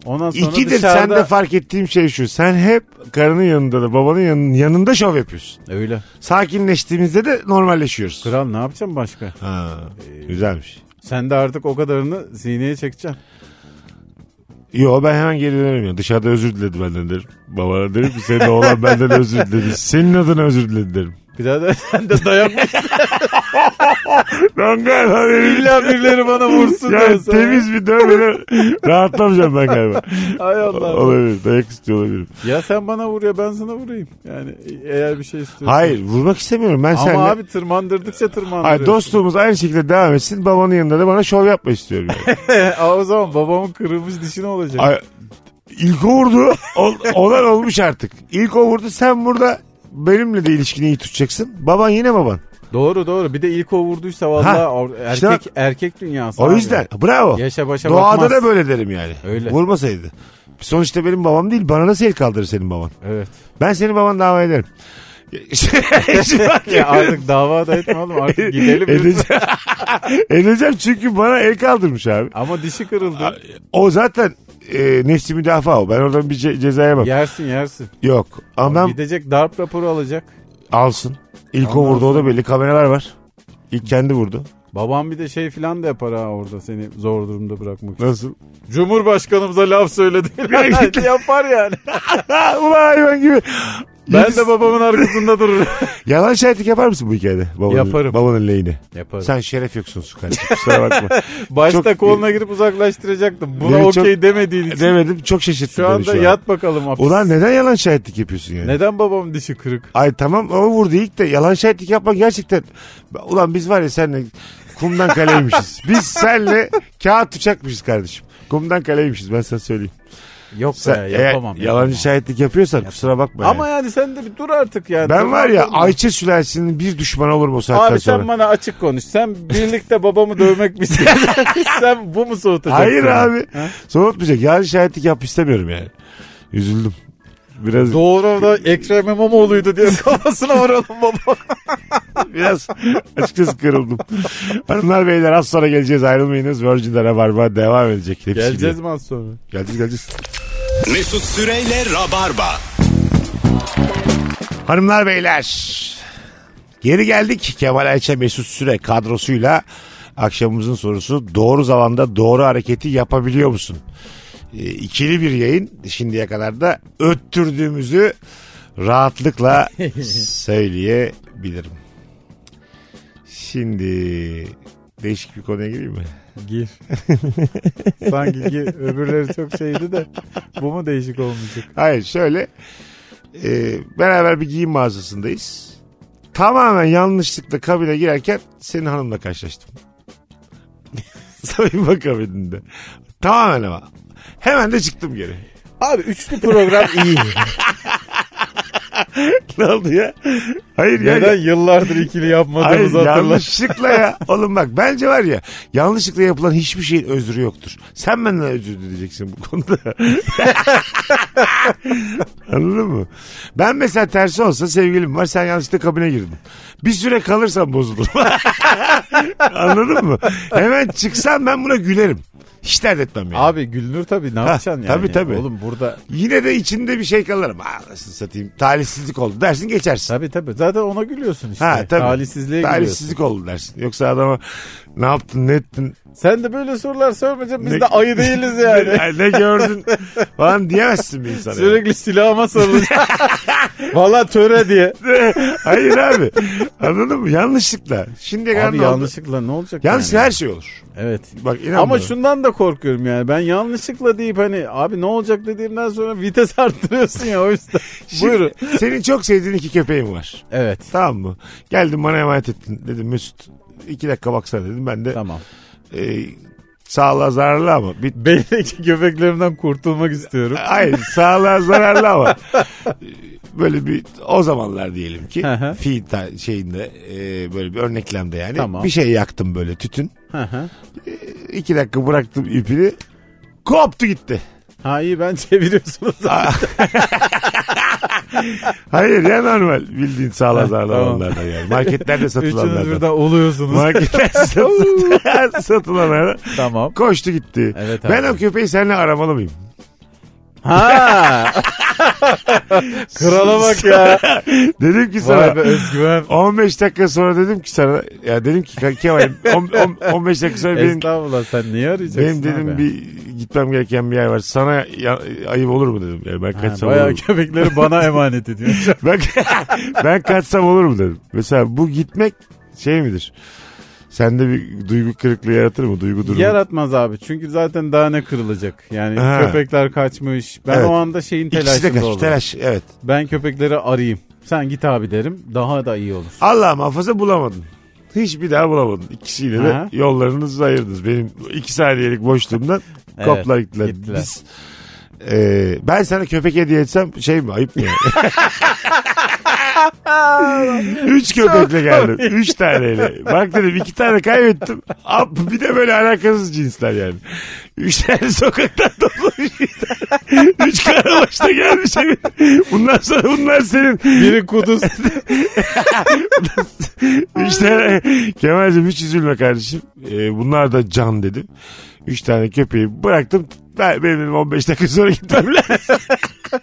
Ondan sonra İkidir dışarıda... sende fark ettiğim şey şu. Sen hep karının yanında da babanın yanın- yanında şov yapıyorsun. E, Öyle. Sakinleştiğimizde de normalleşiyoruz. Kral ne yapacağım başka? Ha, güzelmiş. Sen de artık o kadarını sineye çekeceksin. Yo ben hemen geri dönerim ya. Dışarıda özür diledi benden derim. Babana derim ki senin oğlan benden özür [LAUGHS] diledi. Senin adına özür diledi derim. Birader [LAUGHS] sen de dayak mı Lan galiba benim- İlla birileri bana vursun Ya diyorsun. temiz bir dövmeden [LAUGHS] rahatlamayacağım ben galiba. Ay Allah. olabilir. Dayak istiyor olabilirim. Ya sen bana vur ya ben sana vurayım. Yani eğer bir şey istiyorsan. Hayır vurmak istemiyorum. Ben Ama seninle... abi tırmandırdıkça tırmandırıyorsun. Hayır, dostluğumuz aynı şekilde devam etsin. Babanın yanında da bana şov yapma [LAUGHS] istiyorum. Yani. [LAUGHS] Aa, o zaman babamın kırılmış dişi ne olacak? Ay, ilk o vurdu. Ol, olan olmuş artık. İlk o vurdu. Sen burada benimle de ilişkini iyi tutacaksın. Baban yine baban. Doğru doğru. Bir de ilk o vurduysa valla or- işte erkek erkek dünyası. O abi. yüzden bravo. Yaşa başa Doğada bakmaz. da böyle derim yani. Öyle. Vurmasaydı. Sonuçta benim babam değil bana nasıl el kaldırır senin baban? Evet. Ben senin baban dava ederim. [LAUGHS] [LAUGHS] Şimdi bak Ya artık dava da etme [LAUGHS] oğlum artık gidelim. lütfen. [LAUGHS] Edeceğim. Edeceğim çünkü bana el kaldırmış abi. Ama dişi kırıldı. O zaten e, nefsi müdafaa o. Ben oradan bir ce- cezaya bak. Yersin yersin. Yok. Adam Gidecek darp raporu alacak. alsın. İlk o Ondan vurdu o da belli. Kameralar var. İlk kendi vurdu. Babam bir de şey filan da yapar ha orada seni zor durumda bırakmak için. [LAUGHS] Nasıl? Cumhurbaşkanımıza [LAUGHS] laf söyledi. [LAUGHS] yapar yani. Ha, ulan hayvan gibi. Ben de babamın arkasında dururum. Yalan şahitlik yapar mısın bu hikayede? Babanın, Yaparım. Babanın lehine. Yaparım. Sen şeref yoksun su kardeşim. Kusura [LAUGHS] bakma. Başta Çok- koluna girip uzaklaştıracaktım. Buna Evet, çok- okey demediğin için. Demedim çok şaşırttın Şu anda yat bakalım hapis. Ulan neden yalan şahitlik yapıyorsun yani? Neden babam dişi kırık? Ay tamam o vurdu ilk de yalan şahitlik yapmak gerçekten. Ulan biz var ya senle kumdan [LAUGHS] kaleymişiz. biz senle kağıt uçakmışız kardeşim. Kumdan kaleymişiz ben sana söyleyeyim. Yok Sen be yapamam. eğer yalancı yapamam. şahitlik yapıyorsan kusura bakma. Ama yani. yani sen de bir dur artık yani. Ben var ya Tırnaklarını- Ayça sülalesinin bir düşmanı olurum o saatten Abi sonra. sen bana açık konuş. Sen birlikte babamı dövmek mi [LAUGHS] istiyorsun? sen bu mu soğutacaksın? Hayır abi. Ha? Soğutmayacak. Yalan şahitlik yap istemiyorum yani. Üzüldüm. Biraz Doğru da Ekrem İmamoğlu'ydu diye kafasına vuralım baba. biraz açıkçası kırıldım. Hanımlar beyler az sonra geleceğiz ayrılmayınız. Virgin'de Rabarba devam edecek. Hepsi Geleceğiz mi az sonra? gibi. Geleceğiz geleceğiz. Mesut Süreyle Rabarba. Hanımlar beyler. Geri geldik. Kemal Ayça Mesut Süre kadrosuyla akşamımızın sorusu doğru zamanda doğru hareketi yapabiliyor musun? E, ikili bir yayın. Şimdiye kadar da öttürdüğümüzü [LAUGHS] rahatlıkla söyleyebilirim. Şimdi değişik bir konuya gireyim mi? [LAUGHS] Gir. Sanki gir. Öbürleri çok şeydi de bu mu değişik olmayacak? Hayır şöyle. E, beraber bir giyim mağazasındayız. Tamamen yanlışlıkla kabine girerken senin hanımla karşılaştım. [LAUGHS] Soyunma kabininde. Tamamen ama. Hemen de çıktım geri. [LAUGHS] Abi üçlü program iyi. ne oldu ya? Hayır ya. Neden yıllardır ikili Hayır yapmadığımızı hatırla. yanlışlıkla ya. Oğlum bak bence var ya yanlışlıkla yapılan hiçbir şeyin özrü yoktur. Sen benden özür dileyeceksin bu konuda. [LAUGHS] Anladın mı? Ben mesela tersi olsa sevgilim var sen yanlışlıkla kabine girdin. Bir süre kalırsan bozulurum. [LAUGHS] Anladın mı? Hemen çıksam ben buna gülerim. Hiç dert etmem yani. Abi Gülnur tabii ne yapacaksın yani? tabii, tabii. Oğlum burada Yine de içinde bir şey kalırım. Aa, nasıl satayım talihsizlik oldu dersin geçersin. tabii tabii zaten ona gülüyorsun işte. Ha tabii. Talihsizliğe gülüyorsun. Talihsizlik oldu dersin. Yoksa adama ne yaptın ne ettin Sen de böyle sorular sormayacaksın biz [LAUGHS] Ne- de ayı değiliz yani. Yani ne gördün falan diyemezsin bir insana. Sürekli [LAUGHS] silahıma sarılacak. Valla töre diye. Yani. Hayır abi. Anladın mı? Yanlışlıkla. Şimdiye kadar Abi ne oldu? yanlışlıkla ne olacak Yanlışlıkla yani? her şey olur. Evet. Bak inan Ama bana. şundan da korkuyorum yani. Ben yanlışlıkla deyip hani abi ne olacak dediğimden sonra vites [LAUGHS] arttırıyorsun ya o yüzden. [LAUGHS] Şimdi Buyurun. Senin çok sevdiğin iki köpeğin var. Evet. Tamam mı? Geldin bana emanet ettin. Dedim Mesut iki dakika baksana dedim. Ben de Tamam. e, sağlığa zararlı ama bir Belki köpeklerimden [LAUGHS] kurtulmak istiyorum. Hayır sağlığa zararlı ama böyle bir o zamanlar diyelim ki Hı hı. fiil ta- şeyinde e, böyle bir örneklemde yani Tamam. bir şey yaktım böyle tütün. Hı hı. İki dakika bıraktım ipini. Koptu gitti. ha iyi ben çeviriyorsunuz. Hayır ya normal bildiğin sağla Ha, zarla tamam. olanlardan yani. Marketlerde Üçünüz satılanlardan. birden oluyorsunuz. Marketlerde satılan- [LAUGHS] satılanlardan. [LAUGHS] tamam. Koştu gitti. Evet abi. ben o köpeği seninle aramalı mıyım? [LAUGHS] Ha. Krala bak [LAUGHS] ya. Dedim ki sana. Vay be özgüven. 15 dakika sonra dedim ki sana ya dedim ki Kemal'im on- on- 15 dakika sonra benim, Estağfurullah sen niye arayacaksın benim dedim abi? bir gitmem gereken bir yer var. Sana ya- ayıp olur mu dedim. Yani ben Ha, kaçsam olur bayağı mu? [LAUGHS] köpekleri bana emanet ediyor. Ben, [LAUGHS] ben kaçsam olur mu dedim. Mesela bu gitmek şey midir? Sende bir duygu kırıklığı yaratır mı? Duygu durumu. Yaratmaz abi çünkü zaten daha ne kırılacak. Yani Ha. köpekler kaçmış. Ben Evet. o anda şeyin İkisi de telaşında kaç. olurum. Telaş. Evet. Ben köpekleri arayayım. Sen git abi derim. Daha da iyi olur. Allah muhafaza bulamadın. Hiçbir daha bulamadın. İkisiyle de Aha. yollarınızı ayırdınız. Benim iki saniyelik boşluğumdan Evet, koplar gittiler. gittiler. Biz Ee, ben sana köpek hediye etsem şey mi ayıp mı? [LAUGHS] ya? Üç köpekle geldim. Üç taneyle. Bak dedim iki tane kaybettim. Ab, bir de böyle alakasız cinsler yani. Üç tane sokaktan toplamış. Üç karabaşta gelmiş. evin. Bundan sonra bunlar senin. Biri kuduz. [LAUGHS] Üç tane [LAUGHS] Kemal'cim hiç üzülme kardeşim. Ee, bunlar da can dedim. Üç tane köpeği bıraktım. Ben, benim 15 dakika sonra gitmem lazım.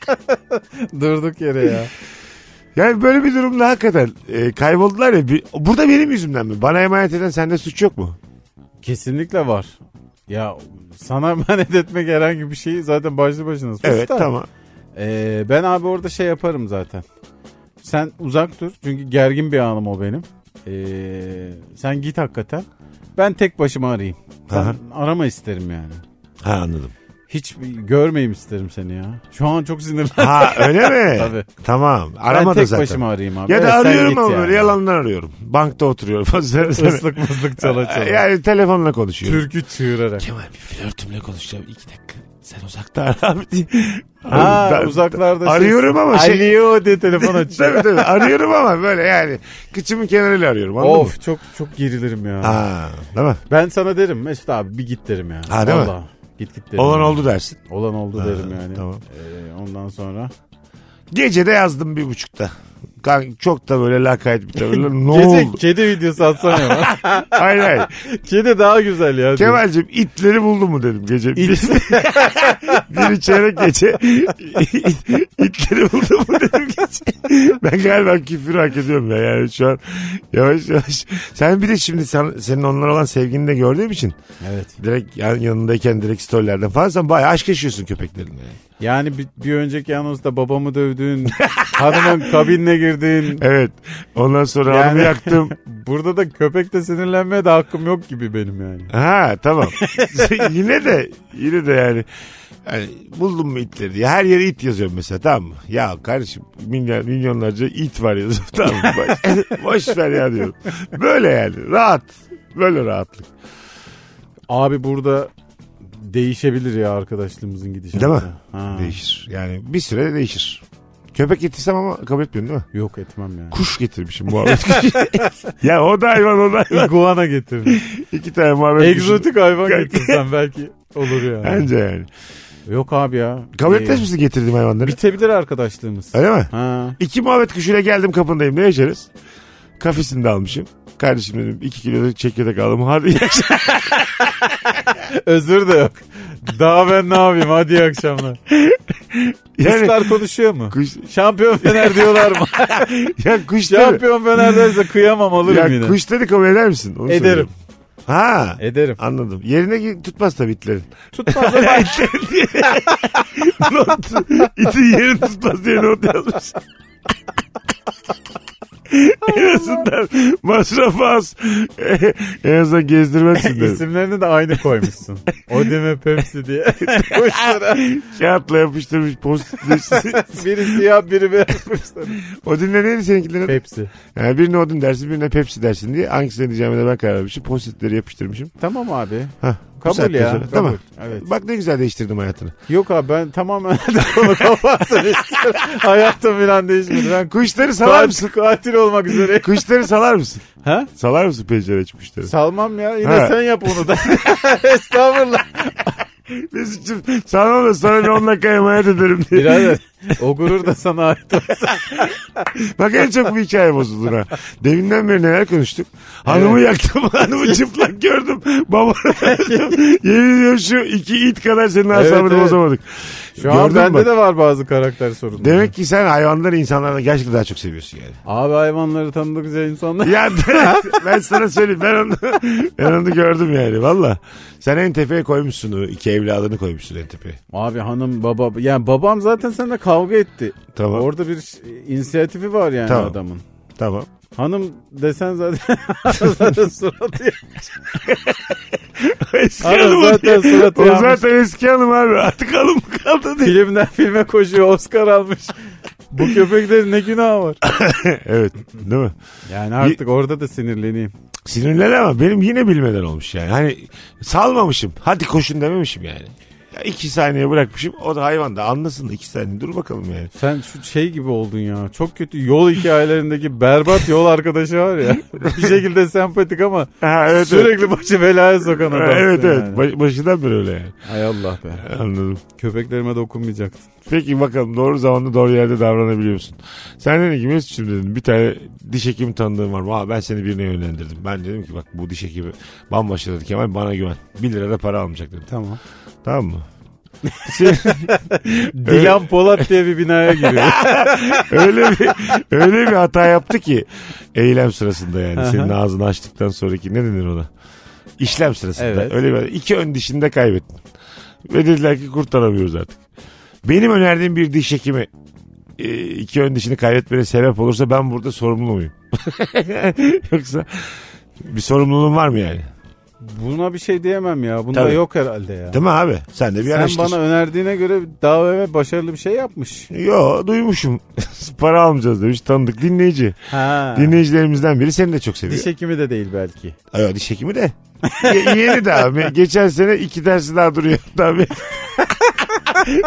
[LAUGHS] Durduk yere ya. Yani böyle bir durumda hakikaten e, kayboldular ya. Bir- burada benim yüzümden mi? Bana emanet eden sende suç yok mu? Kesinlikle var. Ya sana [LAUGHS] emanet etmek herhangi bir şey zaten başlı başına suç Evet da. tamam. Ee, ben abi orada şey yaparım zaten. Sen uzak dur. Çünkü gergin bir anım o benim. Ee, sen git hakikaten. Ben tek başıma arayayım. Sen Aha. arama isterim yani. Ha anladım. Hiç görmeyeyim isterim seni ya. Şu an çok sinirlendim. Ha öyle mi? [LAUGHS] Tabii. Tamam. Ben Arama da tek zaten. başıma arayayım abi. Ya da Evet, sen arıyorum git ama yani. böyle yalandan arıyorum. Bankta oturuyorum. [LAUGHS] Islık mıslık çala çala. yani telefonla konuşuyorum. Türkü çığırarak. Kemal bir flörtümle konuşacağım. iki dakika. Sen uzakta ara abi [LAUGHS] diye. Ha Ben- uzaklarda Arıyorum ama şey- Alo [LAUGHS] diye telefon açıyor. tabii tabii. Arıyorum ama böyle yani. Kıçımın kenarıyla arıyorum. Anladın mı? of çok çok gerilirim ya. Ha, değil mi? Ben sana derim Mesut abi bir git derim ya. Ha, değil mi? Vallahi. Git git derim. Olan ya. oldu dersin. Olan oldu Ha, derim yani. tamam. Ee, ondan sonra. Gece de yazdım bir buçukta. Kanka çok da böyle lakayt bir [LAUGHS] tavırla. ne Gece oldu? kedi videosu atsana [LAUGHS] ya. Hayır hayır. [LAUGHS] kedi daha güzel ya. Kemal'cim itleri buldu mu dedim gece. Biri çeyrek gece. [LAUGHS] itleri buldu mu dedim gece. Ben galiba küfür hak ediyorum ya yani şu an. Yavaş yavaş. Sen bir de şimdi sen- senin onlar olan sevgini de gördüğüm için. [LAUGHS] Evet. Direkt yan, yanındayken direkt storylerden falan sen bayağı aşk yaşıyorsun köpeklerine. yani. Yani bir, bir önceki anonsta babamı dövdün. hanımın kabinine girdin. Evet. Ondan sonra Yani- hanımı yaktım. [LAUGHS] Burada da köpekte sinirlenmeye de hakkım yok gibi benim yani. Ha tamam. [LAUGHS] yine de yine de yani, yani buldum mu itleri diye. Her yere it yazıyorum mesela tamam mı? Ya kardeşim milyon, milyonlarca it var yazıyorum tamam mı? Boş, [LAUGHS] boş ver ya diyorum. Böyle yani rahat. Böyle rahatlık. Abi burada değişebilir ya arkadaşlığımızın gidişatı. Değil mi? Ha. Değişir. Yani bir süre değişir. Köpek getirsem ama kabul etmiyorsun değil mi? Yok etmem yani. Kuş getirmişim muhabbet [LAUGHS] kuşu. ya o da hayvan o da hayvan. İguana getirdim. İki tane muhabbet kuşu. Egzotik hayvan getirsen belki olur yani. Bence yani. Yok abi ya. Kabul Ee, etmez misin getirdiğim hayvanları? Bitebilir arkadaşlığımız. Öyle mi? Ha. İki muhabbet kuşuyla geldim kapındayım. Ne yaşarız? Kafesini de almışım. Kardeşim dedim iki kilo da çekirdek aldım. Hadi iyi akşamlar. [LAUGHS] Özür de yok. Daha ben ne yapayım hadi iyi akşamlar. Yani Kuşlar konuşuyor mu? kuş, Şampiyon Fener diyorlar mı? ya kuş dedi. Şampiyon Fener derse kıyamam alırım Şey yine. Ya kuş dedi kabul eder misin? Onu Ederim. soruyorum. Ha. Ederim. Anladım. Yerine gi- tutmaz tabii [LAUGHS] itlerin. [LAUGHS] Tutmaz ama Not, itin yerini tutmaz diye not [LAUGHS] yazmış. en azından masraf az. [LAUGHS] en azından gezdirmezsin dedim. isimlerini de aynı koymuşsun. Odeme Pepsi diye. [LAUGHS] Kuşlara. Kağıtla yapıştırmış [LAUGHS] post Biri siyah biri [LAUGHS] beyaz kuşlar. Odin'le neydi seninkilerin? Pepsi. Yani birine Odin dersin birine Pepsi dersin diye hangisini diyeceğime de ben karar vermişim. Postitleri yapıştırmışım. Tamam abi. Hah, bu Kabul saatten ya. sonra. Kabul. Tamam. Evet. Bak ne güzel değiştirdim hayatını. Yok abi ben tamamen [LAUGHS] konu kapatsın isterim. Hayatım falan değişmedi. Ben Kuşları salar mısın? katil, katil olmak üzere. Kuşları salar mısın? Ha? Salar mısın pencere aç kuşları? Salmam ya yine Ha. sen yap onu da. [LAUGHS] Estağfurullah. Mesut'cum sana da sana bir 10 dakika emanet ederim diye. Birader o gurur da sana ait olsun. [LAUGHS] Bak en çok bu hikaye bozulur ha. Deminden beri neler konuştuk. Hanımı yaktım, hanımı çıplak gördüm. Babanı yaktım. Yemin ediyorum şu iki it kadar senin asabını evet. bozamadık. Şu an Gördün bende mü? de var bazı karakter sorunları. Demek ki sen hayvanları insanlardan gerçekten daha çok seviyorsun yani. Abi hayvanları tanıdıkça insanlar. Ya [LAUGHS] ben sana söyleyeyim ben onu, ben onu gördüm yani valla. Sen en tepeye koymuşsun o iki evladını koymuşsun en tepeye. Abi hanım baba yani babam zaten seninle kavga etti. Tamam. Orada bir ş- inisiyatifi var yani Tamam. adamın. Tamam. Hanım desen zaten, zaten [LAUGHS] suratı Eski Abi hanım o zaten diye. suratı O yanmış. zaten eski hanım abi artık hanım mı kaldı diye. [LAUGHS] Filmden filme koşuyor Oscar almış. Bu köpeklerin ne günahı var? evet değil mi? Yani artık orada da sinirleneyim. Sinirlen ama benim yine bilmeden olmuş yani. Hani salmamışım hadi koşun dememişim yani. Ya iki saniye bırakmışım. O da hayvan da anlasın da iki saniye. Dur bakalım yani. Sen şu şey gibi oldun ya. Çok kötü yol hikayelerindeki berbat yol arkadaşı [LAUGHS] var ya. Bir şekilde sempatik ama Ha, evet, evet. sürekli başı belaya sokan adam. Evet evet. Baş- başından beri öyle yani. Hay Allah be. Anladım. Köpeklerime dokunmayacaksın. Peki bakalım doğru zamanda doğru yerde davranabiliyor musun? Sen dedin ki Mesut'cum dedin bir tane diş hekimi tanıdığım var. Valla ben seni birine yönlendirdim. Ben dedim ki bak bu diş hekimi bambaşka dedi Kemal bana güven. 1 lira da para almayacak dedim. Tamam. Tamam mı? Sen- Dilan Polat [LAUGHS] diye bir binaya giriyor. öyle bir öyle bir hata yaptı ki eylem sırasında yani senin ağzını açtıktan sonraki ne denir ona? İşlem sırasında. Evet. Öyle bir iki ön dişini de kaybettin. Ve dediler ki kurtaramıyoruz artık. Benim önerdiğim bir diş hekimi e, iki ön dişini kaybetmene sebep olursa ben burada sorumlu muyum? [LAUGHS] Yoksa bir sorumluluğun var mı yani? Buna bir şey diyemem ya. Bunda Tabii. yok herhalde ya. Değil mi abi? Sen de bir Sen araştır. bana önerdiğine göre daha evvel başarılı bir şey yapmış. Yo duymuşum. [LAUGHS] Para almayacağız demiş tanıdık dinleyici. Ha. Dinleyicilerimizden biri seni de çok seviyor. Diş hekimi de değil belki. Ay, diş hekimi de. Ye- yeni de abi. Geçen sene iki dersi daha duruyor [LAUGHS] tabii.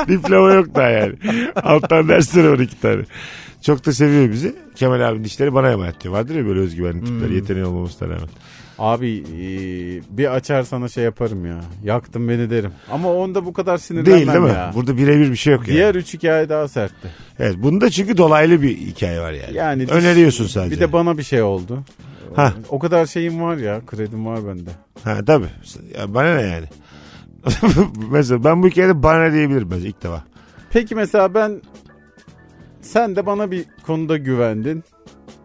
Diploma yok daha yani. Alttan dersleri var iki tane. Çok da seviyor bizi. Kemal abinin dişleri bana emanet diyor. Vardır ya böyle Hmm. özgüvenli tipler. Yeteneği olmamasına rağmen. Abi e, bir açar sana şey yaparım ya. Yaktın beni derim. Ama onda bu kadar sinirlenmem Değil değil mi? ya. Burada birebir bir şey yok yani. Diğer üç hikaye daha sertti. Evet, bunda çünkü dolaylı bir hikaye var yani. Yani diş- Öneriyorsun sadece. Bir de bana bir şey oldu. Ha. O kadar şeyim var ya, kredim var bende. Ha tabii. Ya bana ne yani? [LAUGHS] Mesela ben bu hikayede bana diyebilirim bence ilk defa. Peki mesela ben sen de bana bir konuda güvendin.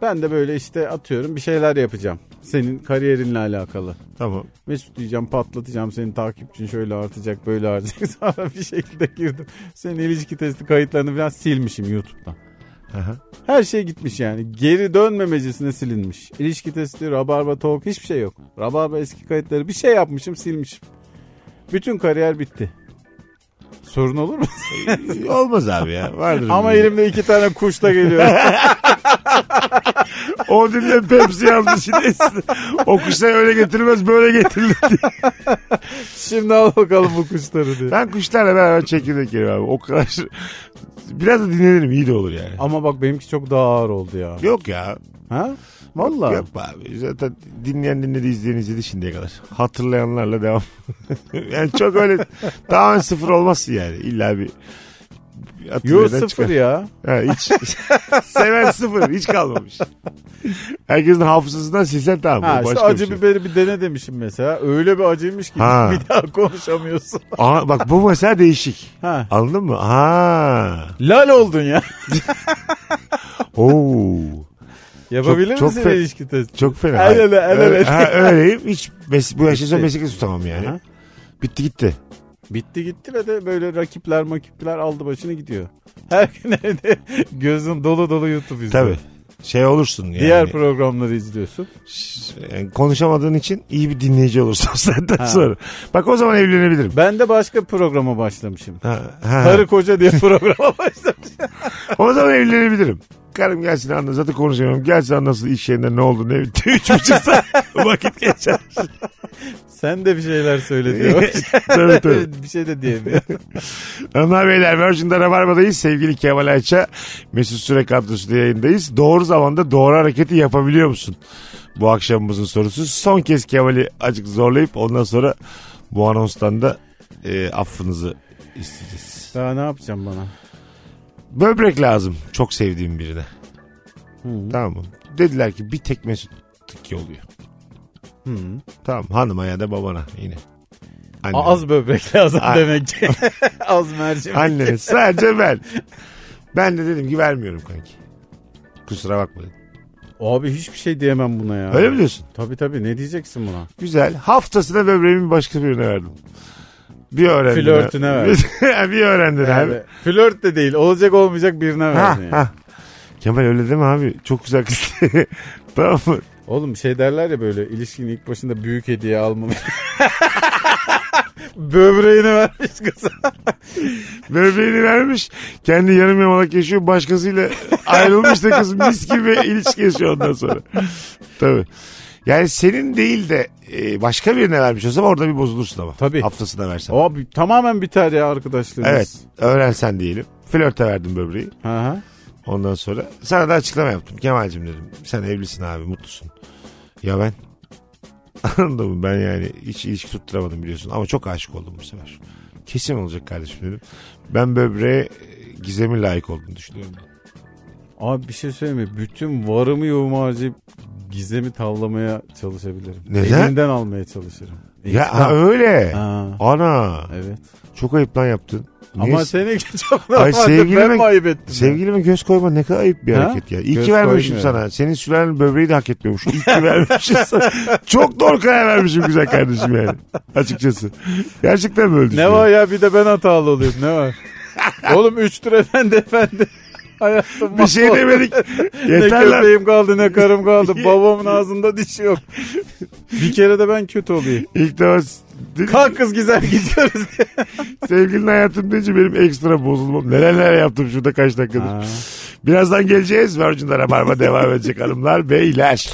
Ben de böyle işte atıyorum bir şeyler yapacağım. Senin kariyerinle alakalı. Tamam. Mesut diyeceğim patlatacağım senin takipçin şöyle artacak böyle artacak. [LAUGHS] Sonra bir şekilde girdim. Senin ilişki testi kayıtlarını falan silmişim YouTube'dan. Aha. Her şey gitmiş yani. Geri dönmemecesine silinmiş. İlişki testi, Rabarba Talk hiçbir şey yok. Rabarba eski kayıtları bir şey yapmışım silmişim. Bütün kariyer bitti. Sorun olur mu? Olmaz abi ya. Vardır. Ama bir- elimde iki tane kuş [LAUGHS] da geliyor. O dinle Pepsi yazmış ilerisine. O kuşlar öyle getirilmez böyle getirilir diye. Şimdi al bakalım bu kuşları diye. Ben kuşlarla beraber çekirdek yerim abi. O kadar... şey- Biraz da dinlenirim iyi de olur yani. Ama bak benimki çok daha ağır oldu ya. Yok ya. Ha? Vallahi. Yok be abi. Zaten dinleyen dinledi izleyen izledi şimdiye kadar. Hatırlayanlarla devam. [LAUGHS] yani çok öyle tamamen sıfır olmazsın yani. İlla bir bir Yo hatırlayadan sıfır çıkar. ya. Ha, hiç. [LAUGHS] Seven sıfır. Hiç kalmamış. Herkesin hafızasından silsen tamam. Ha O işte başka bir acı şey. biberi bir dene demişim mesela. Öyle bir acıymış ki Ha. bir daha konuşamıyorsun. Aa, bak bu mesela değişik. Ha. Anladın mı? Ha. Lal oldun ya. Oo. Yapabilir Çok- çok misin fe- ilişki testi? Çok fena. El ele, el ele. Öyle- Ha, öyleyim. Hiç mes- bu yaşta sonra Bitti. meslek tutamam yani. Aha. Bitti gitti. Bitti gitti ve de böyle rakipler makipler aldı başını gidiyor. [LAUGHS] Her gün evde gözün dolu dolu YouTube izliyor. Tabii. Şey olursun yani. Diğer programları izliyorsun. Yani konuşamadığın için iyi bir dinleyici olursun [LAUGHS] senden sonra. Bak o zaman evlenebilirim. Ben de başka programa başlamışım. Ha, ha. Karı koca diye programa [LAUGHS] başlamışım. O zaman evlenebilirim. Karım gelsin anlasın. Zaten konuşamıyorum. Gelsin anlasın iş yerinde ne oldu ne bitti. [LAUGHS] Üç buçuk saat vakit [LAUGHS] geçer. Sen de bir şeyler söyle [LAUGHS] diyor. tabii tabii. bir şey de diyemiyor. [LAUGHS] Hanımlar beyler Virgin'de Rabarba'dayız. Sevgili Kemal Ayça, Mesut Süre kadrosuyla yayındayız. Doğru zamanda doğru hareketi yapabiliyor musun? Bu akşamımızın sorusu. Son kez Kemal'i acık zorlayıp ondan sonra bu anonstan da e, affınızı isteyeceğiz. Daha ne yapacağım bana? Böbrek lazım çok sevdiğim birine. Tamam mı? Dediler ki bir tek Mesut tık oluyor. Tamam hanıma ya da babana yine. Annene. Az böbrek lazım Ay. demek [LAUGHS] ki. Az mercimek. Annene sadece ben. Ben de dedim ki vermiyorum kanki. Kusura bakma dedim. Abi hiçbir şey diyemem buna ya. Öyle mi diyorsun? Tabii tabii ne diyeceksin buna? Güzel. Haftasına böbreğimi başka birine verdim. Bir öğrendin. [LAUGHS] Flörtüne ha. verdin. bir öğrendin abi. Yani flört de değil olacak olmayacak birine Ha, verdin yani. ha. Kemal öyle deme abi. Çok güzel kız. [LAUGHS] tamam mı? [LAUGHS] Oğlum şey derler ya böyle ilişkinin ilk başında büyük hediye almam. Böbreğini vermiş kıza. Böbreğini vermiş. Kendi yarım yamalak yaşıyor. Başkasıyla ayrılmış da kız mis gibi ilişki yaşıyor ondan sonra. Tabii. Yani senin değil de e, başka birine vermiş olsam orada bir bozulursun ama. Tabii. Haftasına versen. O bi- tamamen biter ya arkadaşlarımız. Evet. Öğrensen diyelim. Flörte verdim böbreği. Hı hı. Ondan sonra sana da açıklama yaptım. Kemal'cim dedim. Sen evlisin abi mutlusun. Ya ben [LAUGHS] anladın mı? Ben yani hiç ilişki tutturamadım biliyorsun. Ama çok aşık oldum bu sefer. Kesin olacak kardeşim dedim. Ben böbreğe e, gizemi layık olduğunu düşünüyorum. Abi bir şey söyleyeyim mi? Bütün varımı yoğumu harcayıp gizemi tavlamaya çalışabilirim. Neden? Elinden almaya çalışırım. Ya İntikam. ha, öyle. E, Ha, Ana. evet. Çok ayıp lan yaptın. Niye Ama se- seni çok [LAUGHS] Ay, normalde sevgilime- ben mi ayıp ettim? Sevgilime göz koyma ne kadar ayıp bir Ha? hareket ya. İyi Göz ki vermemişim koymuyorum. sana. Senin sülalenin böbreği de hak etmiyormuş. [LAUGHS] İyi ki vermemişim sana. Çok doğru karar vermişim güzel kardeşim yani. Açıkçası. Gerçekten böyle Ne düşünüyorum. var ya bir de ben hatalı olayım [LAUGHS] ne var? Oğlum 3 lira efendi [LAUGHS] efendi. Hayatım Bir şey mahvoldu. demedik. Ne Yeter lan. köpeğim kaldı ne karım [LAUGHS] kaldı. Babamın ağzında dişi [LAUGHS] yok. Bir kere de ben kötü olayım. İlk defa Kalk kız güzel gidiyoruz diye. sevgilin hayatım deyince benim ekstra bozulmam. Neler neler yaptım şurada kaç dakikadır. Ha. Birazdan geleceğiz. Virgin'de Rabarba devam edecek hanımlar beyler.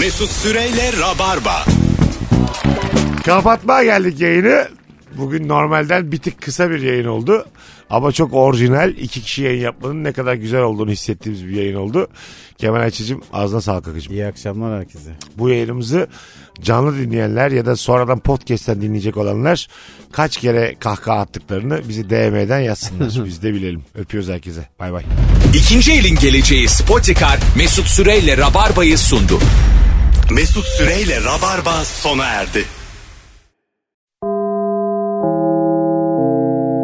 Mesut Süreyle Rabarba. Kapatmaya geldik yayını. Bugün normalden bir tık kısa bir yayın oldu. Ama çok orijinal. iki kişi yayın yapmanın ne kadar güzel olduğunu hissettiğimiz bir yayın oldu. Kemal Ayçi'cim ağzına sağlık akıcım. İyi akşamlar herkese. Bu yayınımızı canlı dinleyenler ya da sonradan podcast'ten dinleyecek olanlar kaç kere kahkaha attıklarını bizi DM'den yazsınlar. Biz de bilelim. Öpüyoruz herkese. Bay bay. İkinci elin geleceği Spotikar Mesut Süreyle Rabarba'yı sundu. Mesut Süreyle Rabarba sona erdi.